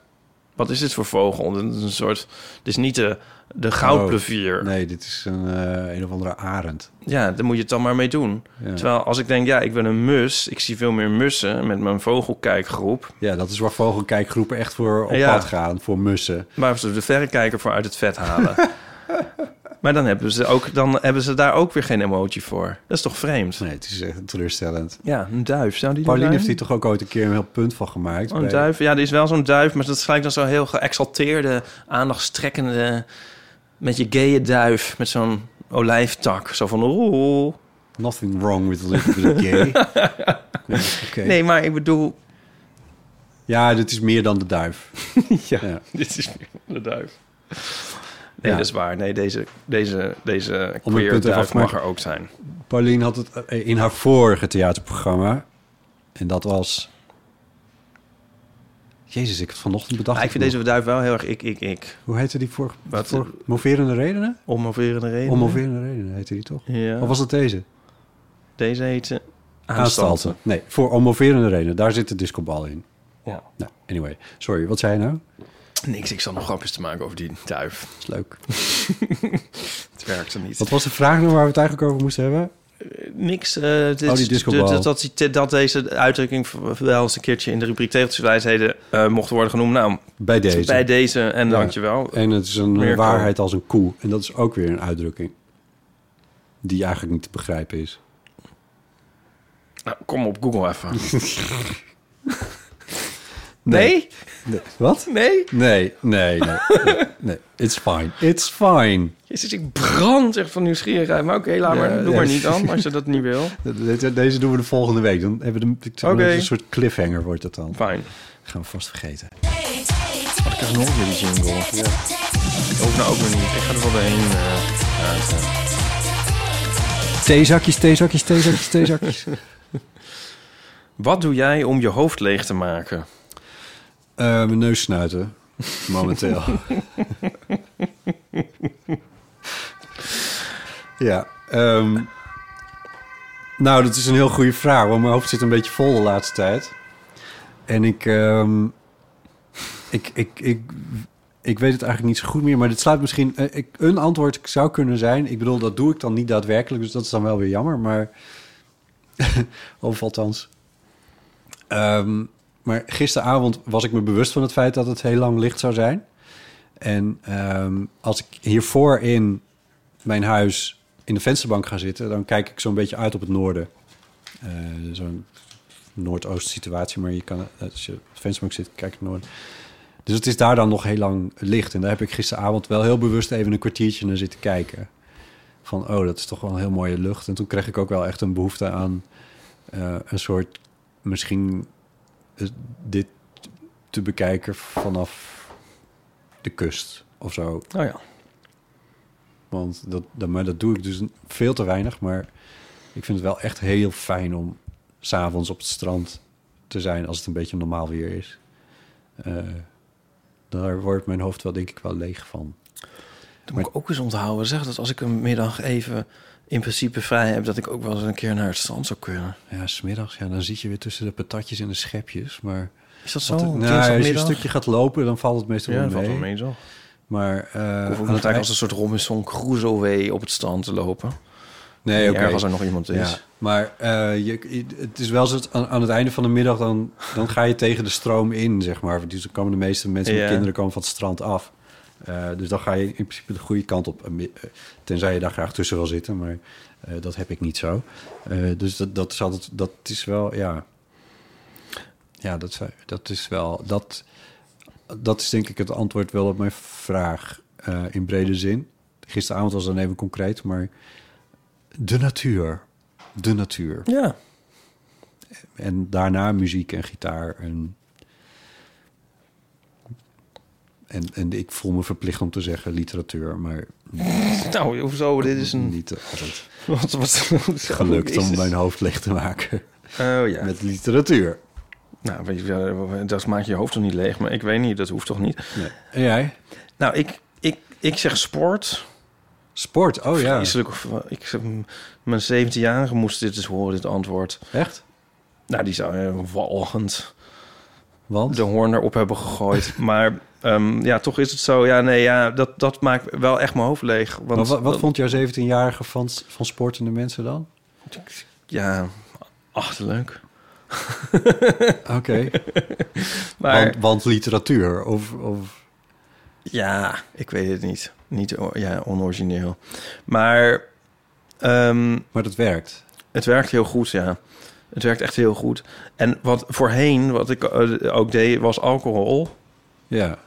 [SPEAKER 2] wat is dit voor vogel? Dit is een soort, dit is niet de, de goudplevier.
[SPEAKER 1] Oh, Nee, dit is een, eh, een of andere arend.
[SPEAKER 2] Ja, daar moet je het dan maar mee doen.
[SPEAKER 1] Ja.
[SPEAKER 2] Terwijl als ik denk, ja, ik ben een mus. Ik zie veel meer mussen met mijn vogelkijkgroep.
[SPEAKER 1] Ja, dat is waar vogelkijkgroepen echt voor op
[SPEAKER 2] Ja.
[SPEAKER 1] pad gaan. Voor mussen.
[SPEAKER 2] Waar ze de verrekijker voor uit het vet halen. Maar dan hebben, ze ook, dan hebben ze daar ook weer geen emotie voor. Dat is toch vreemd?
[SPEAKER 1] Nee, het is echt teleurstellend.
[SPEAKER 2] Ja, een duif. Zou die er
[SPEAKER 1] Pauline
[SPEAKER 2] zijn?
[SPEAKER 1] heeft hier toch ook ooit een keer een heel punt van gemaakt.
[SPEAKER 2] Oh, een
[SPEAKER 1] bij-
[SPEAKER 2] duif. Ja, er is wel zo'n duif, maar dat is gelijk dan zo'n heel geëxalteerde, aandachtstrekkende, met je gaye duif, met zo'n olijftak. Zo van, oeh.
[SPEAKER 1] Nothing wrong with living with a gay. Ja, oké.
[SPEAKER 2] Nee, maar ik bedoel,
[SPEAKER 1] Ja, dit is meer dan de duif.
[SPEAKER 2] ja,
[SPEAKER 1] Ja.
[SPEAKER 2] dit is weer de duif. Nee,
[SPEAKER 1] Ja.
[SPEAKER 2] dat is waar. Nee, deze, deze, deze
[SPEAKER 1] Om het
[SPEAKER 2] queer
[SPEAKER 1] punt even af
[SPEAKER 2] duif
[SPEAKER 1] te maken.
[SPEAKER 2] mag er ook zijn.
[SPEAKER 1] Pauline had het eh, in haar vorige theaterprogramma. En dat was... Jezus, ik heb het vanochtend bedacht.
[SPEAKER 2] Maar ik vind
[SPEAKER 1] nog.
[SPEAKER 2] deze duif wel heel erg ik, ik, ik.
[SPEAKER 1] Hoe heette die voor...
[SPEAKER 2] Wat-
[SPEAKER 1] voor moverende redenen?
[SPEAKER 2] Om of weer een reden.
[SPEAKER 1] Om moverende redenen heette die toch?
[SPEAKER 2] Ja.
[SPEAKER 1] Of was het deze?
[SPEAKER 2] Deze heet eh,
[SPEAKER 1] Aanstalten. Nee, voor om moverende redenen. Daar zit de discobal in.
[SPEAKER 2] Ja.
[SPEAKER 1] Nou, anyway. Sorry, wat zei je nou?
[SPEAKER 2] Niks, ik zat nog grapjes te maken over die duif.
[SPEAKER 1] is leuk.
[SPEAKER 2] Het werkte niet.
[SPEAKER 1] Wat was de vraag nou waar we het eigenlijk over moesten hebben?
[SPEAKER 2] Niks. eh, dit,
[SPEAKER 1] Oh, die discobal.
[SPEAKER 2] dat, dat, die- dat deze uitdrukking wel eens een keertje in de rubriek tegeltjeswijsheden eh mocht worden genoemd. Nou,
[SPEAKER 1] Bij deze.
[SPEAKER 2] bij deze en
[SPEAKER 1] Ja.
[SPEAKER 2] dankjewel.
[SPEAKER 1] En het is een eh,
[SPEAKER 2] Mirko.
[SPEAKER 1] waarheid als een koe. En dat is ook weer een uitdrukking. Die eigenlijk niet te begrijpen is.
[SPEAKER 2] Nou, kom op Google even. nee?
[SPEAKER 1] Nee. Wat?
[SPEAKER 2] Nee?
[SPEAKER 1] Nee, nee, nee. nee, nee. It's fine. It's fine.
[SPEAKER 2] Jezus, ik brand echt van nieuwsgierigheid. Maar oké, laat
[SPEAKER 1] Ja,
[SPEAKER 2] maar. Doe
[SPEAKER 1] ja.
[SPEAKER 2] maar niet dan, als je dat niet wil.
[SPEAKER 1] De- de- Deze doen we de volgende week. Dan hebben we de, ik zeg maar,
[SPEAKER 2] Oké.
[SPEAKER 1] een soort cliffhanger wordt het dan.
[SPEAKER 2] Fijn.
[SPEAKER 1] Gaan we vast vergeten.
[SPEAKER 2] Ik krijg nog weer die jingle. Ja. Ook nou ook weer niet. Ik ga er wel doorheen. eh, uit, eh.
[SPEAKER 1] Theezakjes, theezakjes, theezakjes, theezakjes.
[SPEAKER 2] Wat doe jij om je hoofd leeg te maken?
[SPEAKER 1] Eh mijn neus snuiten. Momenteel. ja. ehm, nou, dat is een heel goede vraag. Want mijn hoofd zit een beetje vol de laatste tijd. En ik... ehm, ik, ik, ik, ik weet het eigenlijk niet zo goed meer. Maar dit sluit misschien... eh, ik, een antwoord zou kunnen zijn... Ik bedoel, dat doe ik dan niet daadwerkelijk. Dus dat is dan wel weer jammer. Maar... of althans... Ehm, maar gisteravond was ik me bewust van het feit dat het heel lang licht zou zijn. En ehm, als ik hiervoor in mijn huis in de vensterbank ga zitten, dan kijk ik zo'n beetje uit op het noorden. Eh, zo'n noordoost situatie, maar je kan, als je op de vensterbank zit, kijk je naar het noorden. Dus het is daar dan nog heel lang licht. En daar heb ik gisteravond wel heel bewust even een kwartiertje naar zitten kijken. Van, oh, dat is toch wel een heel mooie lucht. En toen kreeg ik ook wel echt een behoefte aan eh, een soort, misschien eh, dit te bekijken vanaf de kust of zo.
[SPEAKER 2] Oh ja.
[SPEAKER 1] Want dat, dat, maar dat doe ik dus veel te weinig. Maar ik vind het wel echt heel fijn om s'avonds op het strand te zijn als het een beetje normaal weer is. Eh, daar wordt mijn hoofd wel denk ik wel leeg van.
[SPEAKER 2] Dat moet ik ook eens onthouden. Zeg dat als ik een middag even in principe vrij heb... dat ik ook wel eens een keer naar het strand zou kunnen.
[SPEAKER 1] Ja, smiddags, ja, dan zit je weer tussen de patatjes en de schepjes. Maar
[SPEAKER 2] Is dat zo?
[SPEAKER 1] wat-
[SPEAKER 2] Op
[SPEAKER 1] nou, als je een
[SPEAKER 2] dinsdagmiddag?
[SPEAKER 1] stukje gaat lopen, dan valt het meestal
[SPEAKER 2] Ja,
[SPEAKER 1] wel
[SPEAKER 2] dat
[SPEAKER 1] mee.
[SPEAKER 2] valt wel mee, toch?
[SPEAKER 1] Maar eh,
[SPEAKER 2] Of
[SPEAKER 1] aan
[SPEAKER 2] moet
[SPEAKER 1] het
[SPEAKER 2] eigenlijk
[SPEAKER 1] eind-
[SPEAKER 2] als een soort Robinson Crusoe op het strand te lopen.
[SPEAKER 1] nee, oké.
[SPEAKER 2] Erg als er nog iemand is.
[SPEAKER 1] Ja, maar eh, je, het is wel zo dat aan, aan het einde van de middag dan, dan ga je tegen de stroom in, zeg maar. Dus dan komen de meeste mensen
[SPEAKER 2] Ja.
[SPEAKER 1] met kinderen komen van het strand af. Eh, dus dan ga je in principe de goede kant op. Eh, Tenzij je daar graag tussen wil zitten, maar eh, dat heb ik niet zo. Eh, dus dat, dat, is altijd, dat is wel, ja. Ja, dat, zou- dat is wel. Dat, dat is denk ik het antwoord wel op mijn vraag eh, in brede zin. Gisteravond was dan even concreet, maar de natuur. De natuur.
[SPEAKER 2] Ja.
[SPEAKER 1] En daarna muziek en gitaar. En, en, en ik voel me verplicht om te zeggen literatuur, maar
[SPEAKER 2] Nou, hoezo? Dit is een...
[SPEAKER 1] niet altijd
[SPEAKER 2] Wat, wat,
[SPEAKER 1] gelukt om
[SPEAKER 2] Jezus.
[SPEAKER 1] mijn hoofd leeg te maken
[SPEAKER 2] Oh ja.
[SPEAKER 1] met literatuur.
[SPEAKER 2] Nou, weet je, dat maakt je hoofd toch niet leeg. Maar ik weet niet, dat hoeft toch niet?
[SPEAKER 1] En jij?
[SPEAKER 2] Nou, ik, ik, ik zeg sport.
[SPEAKER 1] Sport, oh ja.
[SPEAKER 2] Vreselijk. of- eh, Ik, zeg, m- mijn 17-jarige moest dit eens horen, dit antwoord.
[SPEAKER 1] Echt?
[SPEAKER 2] Nou, die zou eh, walgend...
[SPEAKER 1] Want?
[SPEAKER 2] de hoorn erop hebben gegooid. maar ehm, ja, toch is het zo. Ja, nee, ja, dat, dat maakt wel echt mijn hoofd leeg. Want,
[SPEAKER 1] Maar wat, wat
[SPEAKER 2] dat-
[SPEAKER 1] vond jouw 17-jarige van, van sportende mensen dan?
[SPEAKER 2] Ja, achterlijk.
[SPEAKER 1] Oké,
[SPEAKER 2] Maar
[SPEAKER 1] want, want literatuur of, of...
[SPEAKER 2] Ja, ik weet het niet. Niet o- ja, onorigineel. Maar ehm,
[SPEAKER 1] Maar dat werkt.
[SPEAKER 2] het werkt heel goed, ja. Het werkt echt heel goed. En wat voorheen, wat ik eh, ook deed, was alcohol.
[SPEAKER 1] Ja.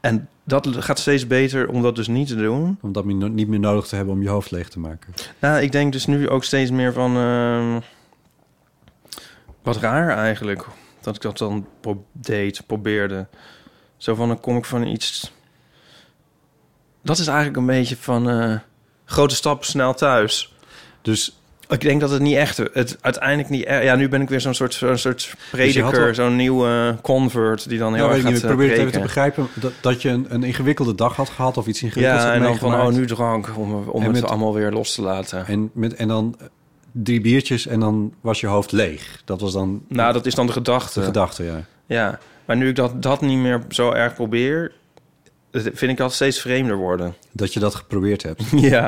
[SPEAKER 2] En dat gaat steeds beter om dat dus niet te doen.
[SPEAKER 1] Om dat no- niet meer nodig te hebben om je hoofd leeg te maken.
[SPEAKER 2] Nou, ik denk dus nu ook steeds meer van... ehm, wat raar eigenlijk, dat ik dat dan pro- deed, probeerde. Zo van, dan kom ik van iets... Dat is eigenlijk een beetje van... eh, grote stap, snel thuis.
[SPEAKER 1] Dus
[SPEAKER 2] Ik denk dat het niet echt... Het uiteindelijk niet... e- Ja, nu ben ik weer zo'n soort, zo'n soort
[SPEAKER 1] Dus je had
[SPEAKER 2] prediker,
[SPEAKER 1] al-
[SPEAKER 2] zo'n nieuwe convert... die dan heel
[SPEAKER 1] ja, weet
[SPEAKER 2] erg
[SPEAKER 1] ik niet,
[SPEAKER 2] gaat
[SPEAKER 1] ik
[SPEAKER 2] eh,
[SPEAKER 1] probeer het even te
[SPEAKER 2] preken.
[SPEAKER 1] begrijpen. Dat, dat je een, een ingewikkelde dag had gehad of iets ingewikkelds
[SPEAKER 2] Ja,
[SPEAKER 1] had
[SPEAKER 2] en dan van,
[SPEAKER 1] meegemaakt.
[SPEAKER 2] oh, nu drank, om, om
[SPEAKER 1] En
[SPEAKER 2] het
[SPEAKER 1] met-
[SPEAKER 2] allemaal weer los te laten.
[SPEAKER 1] En, met, en dan eh, drie biertjes en dan was je hoofd leeg. Dat was dan
[SPEAKER 2] Nou, dat is dan de
[SPEAKER 1] de
[SPEAKER 2] gedachte.
[SPEAKER 1] gedachte, ja.
[SPEAKER 2] Ja, maar nu ik dat, dat niet meer zo erg probeer, vind ik dat steeds vreemder worden.
[SPEAKER 1] Dat je dat geprobeerd hebt.
[SPEAKER 2] ja,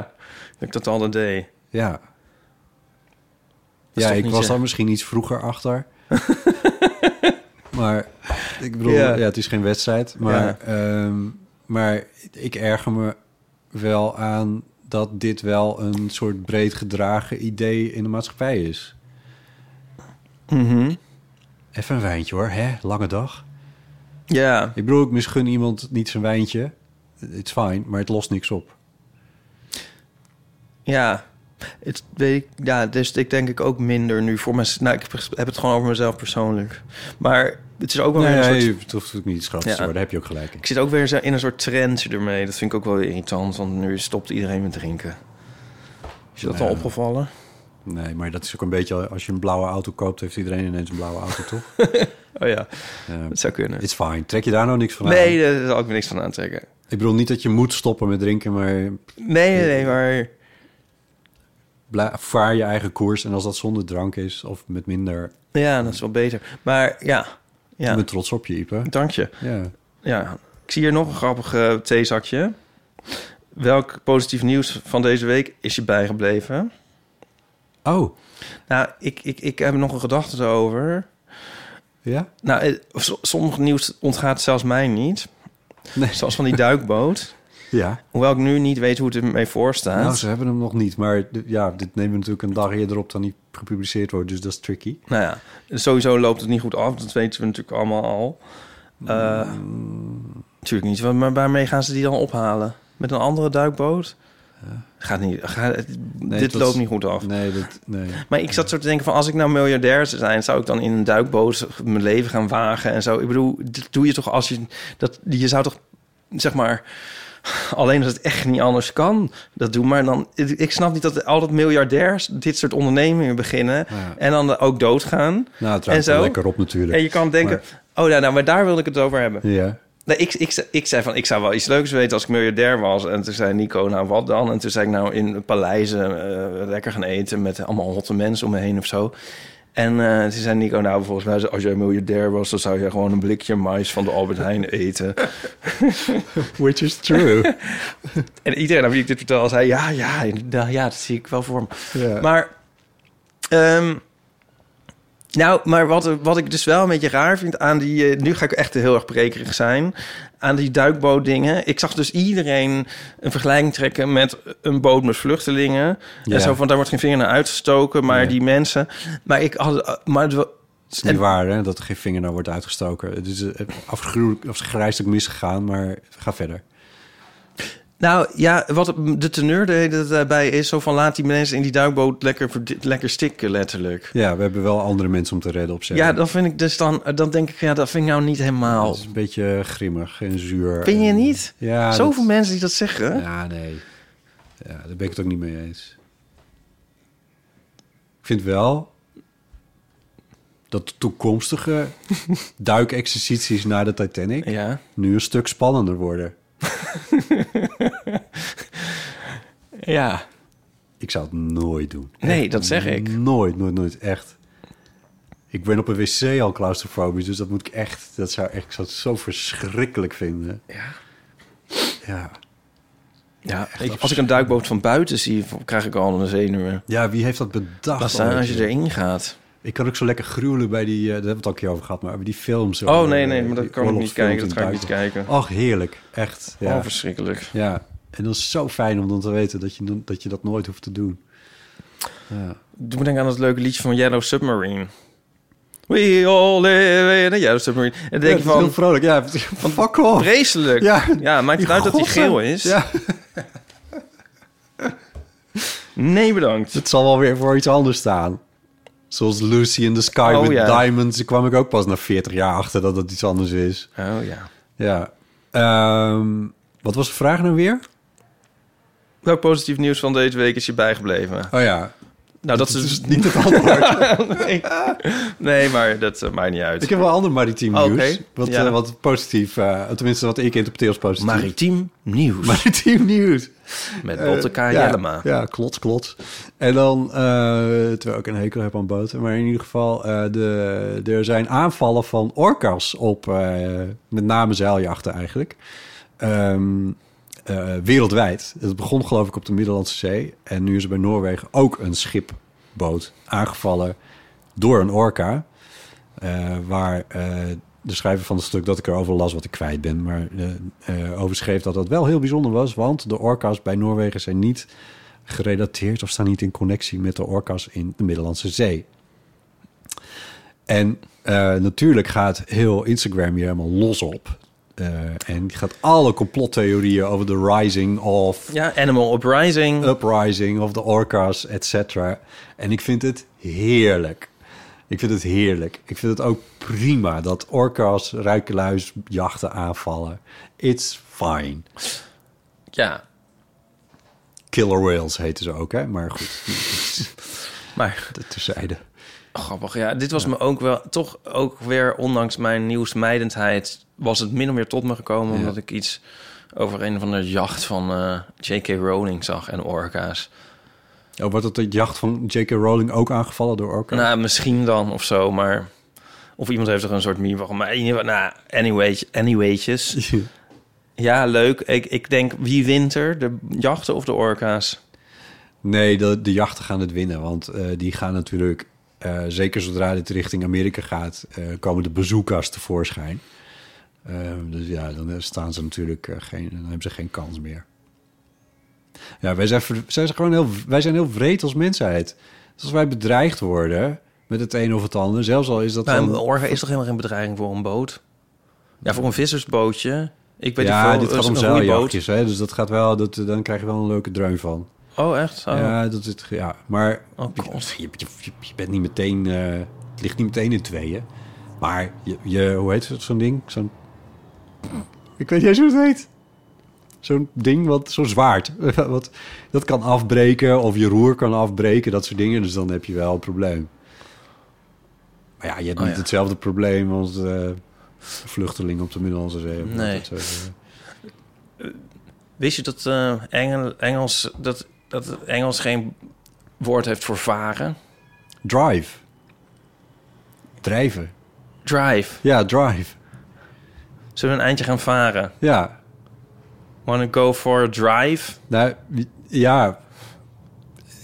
[SPEAKER 2] dat ik dat altijd deed.
[SPEAKER 1] Ja.
[SPEAKER 2] is
[SPEAKER 1] Ja,
[SPEAKER 2] toch
[SPEAKER 1] ik
[SPEAKER 2] niet,
[SPEAKER 1] was
[SPEAKER 2] eh,
[SPEAKER 1] daar misschien iets vroeger achter. maar ik bedoel,
[SPEAKER 2] Ja.
[SPEAKER 1] ja. het is geen wedstrijd. Maar, ehm, maar ik erger me wel aan dat dit wel een soort breed gedragen idee in de maatschappij is.
[SPEAKER 2] Mhm.
[SPEAKER 1] Even een wijntje hoor, hè? Lange dag.
[SPEAKER 2] Ja,
[SPEAKER 1] Ik bedoel, ik misgun iemand niet zijn wijntje. It's fine, maar het lost niks op.
[SPEAKER 2] ja. Het, weet ik, ja, dus ik denk ik ook minder nu voor mezelf. Nou, ik heb het gewoon over mezelf persoonlijk. Maar het is ook wel
[SPEAKER 1] Nee,
[SPEAKER 2] weer een
[SPEAKER 1] nee,
[SPEAKER 2] soort...
[SPEAKER 1] het hoeft natuurlijk niet iets groots
[SPEAKER 2] Ja.
[SPEAKER 1] te worden. Daar heb je ook gelijk in.
[SPEAKER 2] Ik zit ook weer zo in een soort trend ermee. Dat vind ik ook wel weer irritant, want nu stopt iedereen met drinken. Is je dat al opgevallen?
[SPEAKER 1] Nee, maar dat is ook een beetje... Als je een blauwe auto koopt, heeft iedereen ineens een blauwe auto, toch?
[SPEAKER 2] Oh ja,
[SPEAKER 1] Ja.
[SPEAKER 2] dat zou kunnen.
[SPEAKER 1] It's fine. Trek je daar nou niks van aan?
[SPEAKER 2] Nee, daar zal ik me niks van aantrekken.
[SPEAKER 1] Ik bedoel niet dat je moet stoppen met drinken, maar
[SPEAKER 2] Nee, nee, nee, maar...
[SPEAKER 1] bla- vaar je eigen koers. En als dat zonder drank is of met minder...
[SPEAKER 2] Ja, dat is wel beter. Maar ja,
[SPEAKER 1] Ik
[SPEAKER 2] ja.
[SPEAKER 1] ben trots op je, Ipe.
[SPEAKER 2] dank je.
[SPEAKER 1] Ja.
[SPEAKER 2] Ja. Ik zie hier nog een grappig eh, theezakje. Welk positief nieuws van deze week is je bijgebleven?
[SPEAKER 1] Oh,
[SPEAKER 2] Nou, ik, ik, ik heb nog een gedachte over.
[SPEAKER 1] ja?
[SPEAKER 2] Nou, eh, s- sommige nieuws ontgaat zelfs mij niet.
[SPEAKER 1] Nee.
[SPEAKER 2] Zoals van die duikboot.
[SPEAKER 1] Ja.
[SPEAKER 2] Hoewel ik nu niet weet hoe het ermee voor staat.
[SPEAKER 1] Nou, ze hebben hem nog niet. Maar d- ja, dit nemen we natuurlijk een dag eerder op dan die gepubliceerd wordt. Dus dat is tricky.
[SPEAKER 2] Nou ja, sowieso loopt het niet goed af. Dat weten we natuurlijk allemaal al. Eh, Natuurlijk niet. Maar waarmee gaan ze die dan ophalen? Met een andere duikboot? Gaat niet. Gaat, dit
[SPEAKER 1] dat-
[SPEAKER 2] loopt niet goed af.
[SPEAKER 1] Nee, dat... Nee.
[SPEAKER 2] Maar ik zat zo te denken van... als ik nou miljardair zou zijn... zou ik dan in een duikboot mijn leven gaan wagen en zo. Ik bedoel, dit doe je toch als je... Dat, je zou toch, zeg maar... Alleen als het echt niet anders kan, dat doen. Maar dan, ik snap niet dat altijd miljardairs dit soort ondernemingen beginnen...
[SPEAKER 1] Ja.
[SPEAKER 2] en dan ook doodgaan.
[SPEAKER 1] Nou, het
[SPEAKER 2] En
[SPEAKER 1] ruikt
[SPEAKER 2] zo?
[SPEAKER 1] wel lekker op natuurlijk.
[SPEAKER 2] En je kan denken, oh nou, nou, maar daar wilde ik het over hebben.
[SPEAKER 1] Ja.
[SPEAKER 2] Nee, ik, ik, ze- ik zei van, ik zou wel iets leuks weten als ik miljardair was. En toen zei Nico, nou wat dan? En toen zei ik, nou in paleizen eh, lekker gaan eten met allemaal hotte mensen om me heen of zo. En eh, toen zei Nico, nou volgens mij als jij miljardair was... dan zou je gewoon een blikje mais van de Albert Heijn eten.
[SPEAKER 1] Which is true.
[SPEAKER 2] en iedereen aan wie ik dit vertel zei, ja, ja, inderdaad, ja, dat zie ik wel voor me.
[SPEAKER 1] ja.
[SPEAKER 2] Maar, ehm, nou, maar wat, wat ik dus wel een beetje raar vind aan die... eh, nu ga ik echt heel erg prekerig zijn. Aan die duikboot dingen. Ik zag dus iedereen een vergelijking trekken met een boot met vluchtelingen.
[SPEAKER 1] Ja.
[SPEAKER 2] En zo van, daar wordt geen vinger naar uitgestoken. Maar
[SPEAKER 1] Nee.
[SPEAKER 2] die mensen... Maar ik had... Maar het wa-
[SPEAKER 1] Het is niet waar, hè, dat er geen vinger naar wordt uitgestoken. Het is eh, afgruwelijk, afgrijselijk misgegaan, maar ga verder.
[SPEAKER 2] Nou ja, wat de teneur de hele tijd daarbij is... zo van, laat die mensen in die duikboot lekker, verd- lekker stikken letterlijk.
[SPEAKER 1] Ja, we hebben wel andere mensen om te redden op zee.
[SPEAKER 2] Ja, dan vind ik dus dan... Dan denk ik, ja, dat vind ik nou niet helemaal...
[SPEAKER 1] Dat is een beetje grimmig en zuur.
[SPEAKER 2] Vind je
[SPEAKER 1] En-
[SPEAKER 2] niet?
[SPEAKER 1] Ja,
[SPEAKER 2] Zoveel
[SPEAKER 1] dat-
[SPEAKER 2] mensen die dat zeggen.
[SPEAKER 1] Ja, nee. Ja, daar ben ik het ook niet mee eens. Ik vind wel dat de toekomstige duikexercities naar de Titanic
[SPEAKER 2] Ja.
[SPEAKER 1] nu een stuk spannender worden.
[SPEAKER 2] Ja.
[SPEAKER 1] Ik zou het nooit doen.
[SPEAKER 2] Nee,
[SPEAKER 1] Echt
[SPEAKER 2] dat zeg ik.
[SPEAKER 1] Nooit, nooit, nooit. Echt. Ik ben op een wc al claustrofobisch, dus dat moet ik echt... Dat zou, ik zou het zo verschrikkelijk vinden.
[SPEAKER 2] Ja.
[SPEAKER 1] Ja.
[SPEAKER 2] ja. Ik- als ik een duikboot van buiten zie, v- krijg ik al een zenuwen.
[SPEAKER 1] Ja, wie heeft dat bedacht?
[SPEAKER 2] Pas daar als je
[SPEAKER 1] alweer?
[SPEAKER 2] erin gaat.
[SPEAKER 1] Ik kan ook zo lekker gruwelen bij die... eh, daar hebben we het al een keer over gehad, maar bij die films.
[SPEAKER 2] Oh
[SPEAKER 1] over,
[SPEAKER 2] nee, nee,
[SPEAKER 1] eh,
[SPEAKER 2] maar dat
[SPEAKER 1] die
[SPEAKER 2] kan ik niet
[SPEAKER 1] oorlogsfilms
[SPEAKER 2] kijken. Dat
[SPEAKER 1] in
[SPEAKER 2] ga ik niet
[SPEAKER 1] het
[SPEAKER 2] kijken.
[SPEAKER 1] buitenland. Ach, heerlijk. Echt. Ja.
[SPEAKER 2] Oh, verschrikkelijk.
[SPEAKER 1] ja. En dat is zo fijn om dan te weten dat je dat, je dat nooit hoeft te doen.
[SPEAKER 2] Doe me denken aan dat leuke liedje van Yellow Submarine. We all live in a Yellow Submarine. En dan denk je
[SPEAKER 1] Ja, het is heel
[SPEAKER 2] van,
[SPEAKER 1] vrolijk. Ja, van fuck off.
[SPEAKER 2] vreselijk.
[SPEAKER 1] Ja.
[SPEAKER 2] Ja, maakt het uit dat hij
[SPEAKER 1] Godse-
[SPEAKER 2] geel is?
[SPEAKER 1] Ja,
[SPEAKER 2] Nee, bedankt.
[SPEAKER 1] het zal wel weer voor iets anders staan. Zoals Lucy in the Sky
[SPEAKER 2] Oh,
[SPEAKER 1] with
[SPEAKER 2] ja.
[SPEAKER 1] Diamonds. Daar kwam ik ook pas na 40 jaar achter dat dat iets anders is.
[SPEAKER 2] Oh ja.
[SPEAKER 1] Ja. Ehm, wat was de vraag nou weer?
[SPEAKER 2] Welk positief nieuws van deze week is je bijgebleven?
[SPEAKER 1] Oh ja.
[SPEAKER 2] Nou, dat is
[SPEAKER 1] Het
[SPEAKER 2] dus...
[SPEAKER 1] is niet het antwoord.
[SPEAKER 2] Nee, nee maar dat eh, maakt niet uit.
[SPEAKER 1] ik heb wel ander maritiem
[SPEAKER 2] Oh,
[SPEAKER 1] nieuws.
[SPEAKER 2] oké.
[SPEAKER 1] Wat,
[SPEAKER 2] Ja.
[SPEAKER 1] eh, wat positief, eh, tenminste wat ik interpreteer als positief.
[SPEAKER 2] Maritiem nieuws.
[SPEAKER 1] maritiem nieuws.
[SPEAKER 2] Met Lotte K.
[SPEAKER 1] Eh, ja,
[SPEAKER 2] Jellema.
[SPEAKER 1] Ja, klopt, klopt. En dan, eh, terwijl ik een hekel heb aan boten, maar in ieder geval, eh, de, er zijn aanvallen van orcas op eh, met name zeiljachten eigenlijk. Ehm, eh, wereldwijd. Het begon geloof ik op de Middellandse Zee. En nu is er bij Noorwegen ook een schipboot aangevallen door een orka. Eh, waar eh, de schrijver van het stuk dat ik erover las, wat ik kwijt ben, maar eh eh, over schreef dat dat wel heel bijzonder was. Want de orka's bij Noorwegen zijn niet gerelateerd of staan niet in connectie met de orka's in de Middellandse Zee. En eh, natuurlijk gaat heel Instagram hier helemaal los op. Eh, en die gaat alle complottheorieën over de rising of
[SPEAKER 2] Ja, Animal
[SPEAKER 1] Oh.
[SPEAKER 2] Uprising.
[SPEAKER 1] uprising of de orcas, et cetera. En ik vind het heerlijk. Ik vind het heerlijk. Ik vind het ook prima dat orcas, ruikeluis, jachten aanvallen. It's fine.
[SPEAKER 2] Ja,
[SPEAKER 1] Killer whales heten ze ook, hè? Maar goed,
[SPEAKER 2] maar
[SPEAKER 1] dat terzijde.
[SPEAKER 2] grappig. Ja, dit was me ook wel... Toch ook weer, ondanks mijn nieuwsmijdendheid... was het min of meer tot me gekomen...
[SPEAKER 1] Ja.
[SPEAKER 2] omdat ik iets over een van de jacht van eh, J.K. Rowling zag en orka's.
[SPEAKER 1] Oh, wordt dat de jacht van J.K. Rowling ook aangevallen door orcas?
[SPEAKER 2] Nou, misschien dan of zo, maar... Of iemand heeft er een soort meme van. Maar in ieder geval, nou, anyway, anywaytjes. Ja, leuk. Ik, ik denk, wie wint er? De jachten of de orka's?
[SPEAKER 1] Nee, de, de jachten gaan het winnen. Want eh, die gaan natuurlijk, eh, zeker zodra dit richting Amerika gaat, eh, komen de bezoekers tevoorschijn. Eh, dus ja, dan eh, staan ze natuurlijk eh, geen, dan hebben ze geen kans meer. Ja, wij zijn, ver- zijn ze gewoon heel, wij zijn heel wreed als mensheid. Dus als wij bedreigd worden met het een of het ander, zelfs al is dat
[SPEAKER 2] Nou, een
[SPEAKER 1] dan...
[SPEAKER 2] orga is toch helemaal geen bedreiging voor een boot? Ja, voor een vissersbootje. Ik weet
[SPEAKER 1] Ja,
[SPEAKER 2] niet
[SPEAKER 1] dit
[SPEAKER 2] veel,
[SPEAKER 1] gaat om
[SPEAKER 2] een roeiboot.
[SPEAKER 1] zeiljachtjes, hè? dus dat gaat wel, dat, dan krijg je wel een leuke dreun van.
[SPEAKER 2] Oh, echt? Oh.
[SPEAKER 1] Ja, dat is het. Ja, maar
[SPEAKER 2] Oh,
[SPEAKER 1] je,
[SPEAKER 2] God.
[SPEAKER 1] je, je- je bent niet meteen. eh, het ligt niet meteen in tweeën. Maar je, je hoe heet het, zo'n ding? Zo'n. Ik weet niet eens hoe het heet. Zo'n ding, wat, zo'n zwaard. wat, dat kan afbreken of je roer kan afbreken, dat soort dingen. Dus dan heb je wel een probleem. Maar ja, je hebt
[SPEAKER 2] Oh,
[SPEAKER 1] niet
[SPEAKER 2] ja.
[SPEAKER 1] hetzelfde probleem als eh vluchtelingen op de Middellandse Zee. of
[SPEAKER 2] Nee.
[SPEAKER 1] dat soort, eh.
[SPEAKER 2] Wist je dat, eh, Engel- Engels, dat, dat het Engels geen woord heeft voor varen?
[SPEAKER 1] drive. Drijven.
[SPEAKER 2] Drive.
[SPEAKER 1] Ja, drive.
[SPEAKER 2] Zullen we een eindje gaan varen?
[SPEAKER 1] Ja,
[SPEAKER 2] Wanna go for a drive?
[SPEAKER 1] Nou, ja.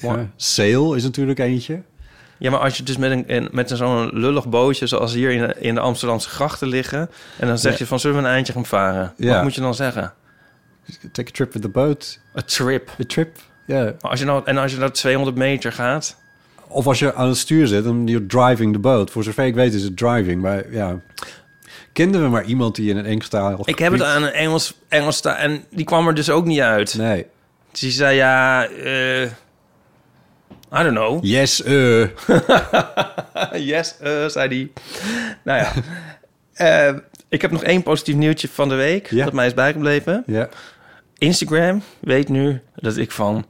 [SPEAKER 2] Mooi.
[SPEAKER 1] ja. Sale is natuurlijk eentje.
[SPEAKER 2] Ja, maar als je dus met, een, en- met een- zo'n lullig bootje zoals hier in de, in de Amsterdamse grachten liggen... en dan zeg je van, zullen we een eindje gaan varen? Wat
[SPEAKER 1] Ja.
[SPEAKER 2] moet je dan zeggen?
[SPEAKER 1] Take a trip with the boat.
[SPEAKER 2] A trip.
[SPEAKER 1] A trip. Ja.
[SPEAKER 2] Maar Als je nou, en als je naar 200 meter gaat...
[SPEAKER 1] Of als je aan het stuur zit, dan you're driving the boat. Voor zover ik weet is het driving, maar ja. Kenden we maar iemand die in een Engstaal...
[SPEAKER 2] Ik heb het aan een Engels, Engels sta- en die kwam er dus ook niet uit.
[SPEAKER 1] Nee.
[SPEAKER 2] Dus die zei, ja, eh I don't know.
[SPEAKER 1] Yes, eh.
[SPEAKER 2] Yes, eh, zei die. Nou ja, Eh, ik heb nog één positief nieuwtje van de week...
[SPEAKER 1] Ja.
[SPEAKER 2] dat mij is bijgebleven.
[SPEAKER 1] ja.
[SPEAKER 2] Instagram weet nu dat ik van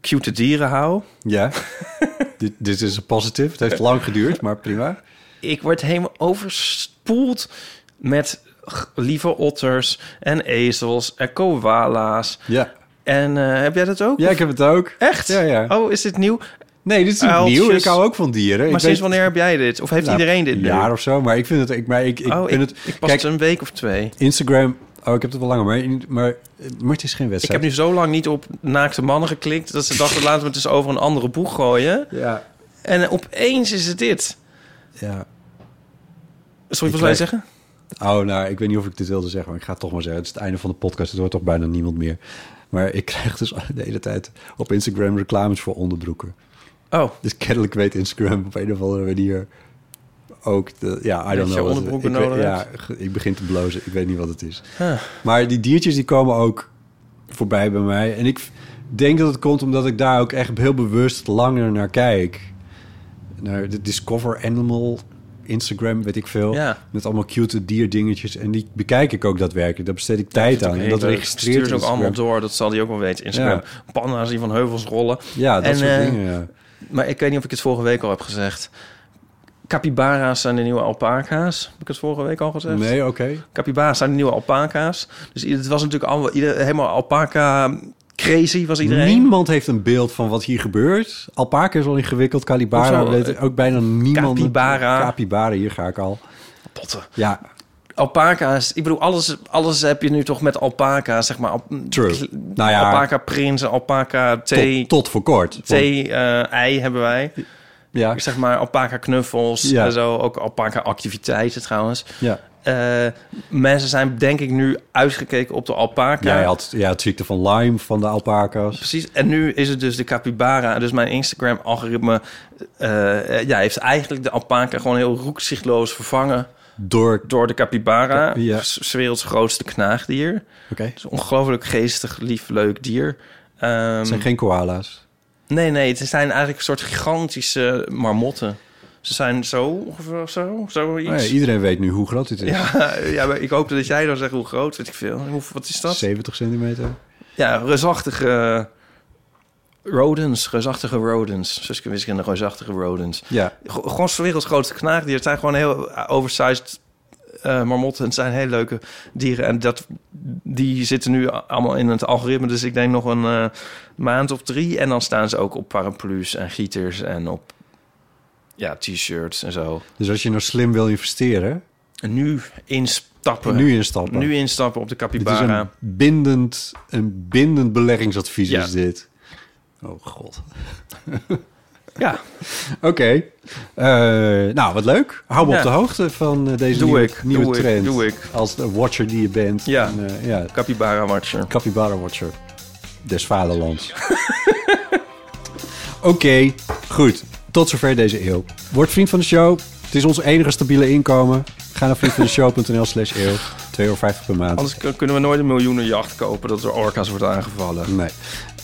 [SPEAKER 2] cute dieren hou...
[SPEAKER 1] Ja. Dit- Dit is een positief. Het heeft lang geduurd, maar prima.
[SPEAKER 2] ik word helemaal overspoeld met g- lieve otters en ezels en koala's.
[SPEAKER 1] Ja.
[SPEAKER 2] En eh, heb jij dat ook?
[SPEAKER 1] Ja, ik heb het ook.
[SPEAKER 2] Echt?
[SPEAKER 1] Ja, ja.
[SPEAKER 2] Oh, is dit nieuw?
[SPEAKER 1] Nee, dit is niet
[SPEAKER 2] Uiltjes.
[SPEAKER 1] nieuw. Ik hou ook van dieren.
[SPEAKER 2] maar
[SPEAKER 1] ik
[SPEAKER 2] sinds
[SPEAKER 1] weet-
[SPEAKER 2] wanneer heb jij dit? Of heeft
[SPEAKER 1] Nou,
[SPEAKER 2] iedereen dit nu?
[SPEAKER 1] Een jaar of zo, maar ik vind het... Ik, maar ik, ik
[SPEAKER 2] oh,
[SPEAKER 1] ben
[SPEAKER 2] ik,
[SPEAKER 1] het,
[SPEAKER 2] ik pas
[SPEAKER 1] Kijk,
[SPEAKER 2] het een week of twee.
[SPEAKER 1] Instagram. Oh, ik heb het wel langer, maar, maar, maar het is geen
[SPEAKER 2] Ik
[SPEAKER 1] wedstrijd.
[SPEAKER 2] heb nu zo lang niet op naakte mannen geklikt... dat ze dachten, laten we het eens over een andere boeg gooien.
[SPEAKER 1] Ja.
[SPEAKER 2] En opeens is het dit.
[SPEAKER 1] Ja.
[SPEAKER 2] Sorry,
[SPEAKER 1] Ik
[SPEAKER 2] wat wil
[SPEAKER 1] krijg-
[SPEAKER 2] je zeggen?
[SPEAKER 1] Oh, nou, ik weet niet of ik dit wilde zeggen, maar ik ga het toch maar zeggen. Het is het einde van de podcast. Het hoort toch bijna niemand meer. Maar ik krijg dus de hele tijd op Instagram reclames voor onderbroeken.
[SPEAKER 2] Oh,
[SPEAKER 1] Dus kennelijk weet Instagram op een of andere manier ook de, ja, I
[SPEAKER 2] Dat
[SPEAKER 1] don't know.
[SPEAKER 2] je
[SPEAKER 1] wat het-
[SPEAKER 2] onderbroeken
[SPEAKER 1] ik weet-
[SPEAKER 2] nodig
[SPEAKER 1] Ja, ge- ik begin te blozen. Ik weet niet wat het is. Maar die diertjes die komen ook voorbij bij mij. En ik denk dat het komt omdat ik daar ook echt heel bewust langer naar kijk. Naar de Discover Animal Instagram, weet ik veel.
[SPEAKER 2] Ja.
[SPEAKER 1] Met allemaal cute dierdingetjes. En die bekijk ik ook daadwerkelijk. Daar besteed ik tijd aan. En dat registreert
[SPEAKER 2] Stuur ze ook
[SPEAKER 1] Instagram.
[SPEAKER 2] allemaal door. Dat zal hij ook wel weten. Instagram. Panda's die van heuvels rollen.
[SPEAKER 1] Ja, dat
[SPEAKER 2] En,
[SPEAKER 1] soort
[SPEAKER 2] eh,
[SPEAKER 1] dingen. Ja.
[SPEAKER 2] Maar ik weet niet of ik het vorige week al heb gezegd. Capybara's zijn de nieuwe alpaca's. Heb ik het vorige week al gezegd?
[SPEAKER 1] Nee, oké.
[SPEAKER 2] Capybara's zijn de nieuwe alpaca's. Dus i- het was natuurlijk allemaal, ieder, helemaal alpaca crazy was iedereen.
[SPEAKER 1] Niemand heeft een beeld van wat hier gebeurt. Alpaca is al ingewikkeld. Calibara
[SPEAKER 2] Hoezo?
[SPEAKER 1] weet ook bijna niemand.
[SPEAKER 2] eh, Capybara.
[SPEAKER 1] Capybara, hier ga ik al.
[SPEAKER 2] Potten.
[SPEAKER 1] Ja,
[SPEAKER 2] Alpaca's, ik bedoel, alles, alles heb je nu toch met alpaca's, zeg maar. Al-
[SPEAKER 1] True.
[SPEAKER 2] kl-
[SPEAKER 1] Nou ja.
[SPEAKER 2] Alpaca prinsen, alpaca thee,
[SPEAKER 1] tot, tot voor kort. Want-
[SPEAKER 2] thee eh, ei hebben wij.
[SPEAKER 1] ja,
[SPEAKER 2] Zeg maar alpaca knuffels
[SPEAKER 1] Ja.
[SPEAKER 2] en zo. Ook alpaca activiteiten trouwens.
[SPEAKER 1] ja.
[SPEAKER 2] Eh, mensen zijn denk ik nu uitgekeken op de alpaca.
[SPEAKER 1] Jij had ja, het ziekte van Lyme van de alpaca's.
[SPEAKER 2] Precies. En nu is het dus de capybara. Dus mijn Instagram-algoritme eh, eh, ja, heeft eigenlijk de alpaca gewoon heel roekzichtloos vervangen
[SPEAKER 1] Door. Oké.
[SPEAKER 2] door de capybara.
[SPEAKER 1] Ja.
[SPEAKER 2] S- 's werelds grootste knaagdier. Het is een ongelooflijk geestig, lief, leuk dier. Ehm,
[SPEAKER 1] Het zijn geen koala's.
[SPEAKER 2] Nee, nee, het zijn eigenlijk een soort gigantische marmotten. Ze zijn zo ongeveer zo, zoiets.
[SPEAKER 1] Oh ja, iedereen weet nu hoe groot dit is.
[SPEAKER 2] ja, ja, maar ik hoop dat jij dan zegt hoe groot, weet ik veel. Hoe, wat is dat?
[SPEAKER 1] 70 centimeter.
[SPEAKER 2] Ja, reusachtige rodents, reusachtige rodents. Suske Wiske en de reusachtige rodents.
[SPEAKER 1] Ja.
[SPEAKER 2] Go- gewoon 's werelds grootste knaagdier. Het zijn gewoon heel eh, oversized eh, marmotten. Het zijn heel leuke dieren. En dat, die zitten nu a- allemaal in het algoritme. Dus ik denk nog een eh, maand of drie. En dan staan ze ook op paraplu's en gieters en op ja, t-shirts en zo.
[SPEAKER 1] Dus als je nou slim wil investeren,
[SPEAKER 2] En nu instappen.
[SPEAKER 1] nu instappen.
[SPEAKER 2] Nu instappen op de
[SPEAKER 1] dit is
[SPEAKER 2] capybara.
[SPEAKER 1] een bindend, een bindend beleggingsadvies
[SPEAKER 2] Ja.
[SPEAKER 1] is dit. Oh god.
[SPEAKER 2] Ja,
[SPEAKER 1] Oké. Eh, nou, wat leuk. Hou me
[SPEAKER 2] Ja.
[SPEAKER 1] op de hoogte van eh, deze
[SPEAKER 2] Doe
[SPEAKER 1] nieuwe,
[SPEAKER 2] ik,
[SPEAKER 1] nieuwe
[SPEAKER 2] doe ik,
[SPEAKER 1] trend.
[SPEAKER 2] doe ik.
[SPEAKER 1] Als de watcher die je bent.
[SPEAKER 2] Ja.
[SPEAKER 1] En, eh, ja
[SPEAKER 2] capybara watcher.
[SPEAKER 1] capybara watcher. Des vaderlands. Oké, goed. Tot zover deze eeuw. Word vriend van de show. Het is ons enige stabiele inkomen. Ga naar vriendvandeshow.nl slash eeuw. 2,50 euro per maand.
[SPEAKER 2] Anders k- kunnen we nooit een miljoenenjacht kopen dat door orka's wordt aangevallen.
[SPEAKER 1] Nee.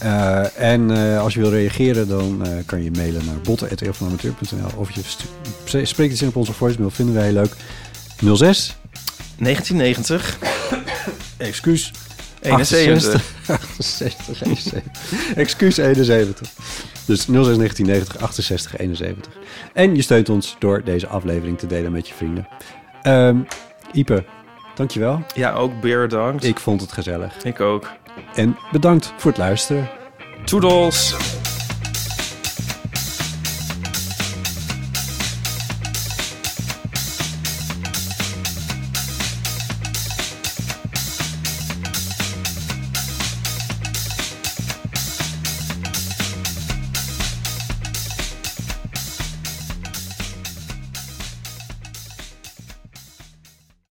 [SPEAKER 1] Eh, en eh, als je wil reageren, dan eh, kan je mailen naar botten.eeuwvanamateur.nl of je stu- pre- spreekt iets in op onze voicemail. Vinden wij leuk. 06
[SPEAKER 2] 1990,
[SPEAKER 1] excuus
[SPEAKER 2] 71.
[SPEAKER 1] 68 71. Excuus 71. Dus 06 1990 68 71. En je steunt ons door deze aflevering te delen met je vrienden. Ehm Ipe, dankjewel.
[SPEAKER 2] Ja, ook beer dankt.
[SPEAKER 1] Ik vond het gezellig.
[SPEAKER 2] Ik ook.
[SPEAKER 1] En bedankt voor het luisteren.
[SPEAKER 2] Toedels.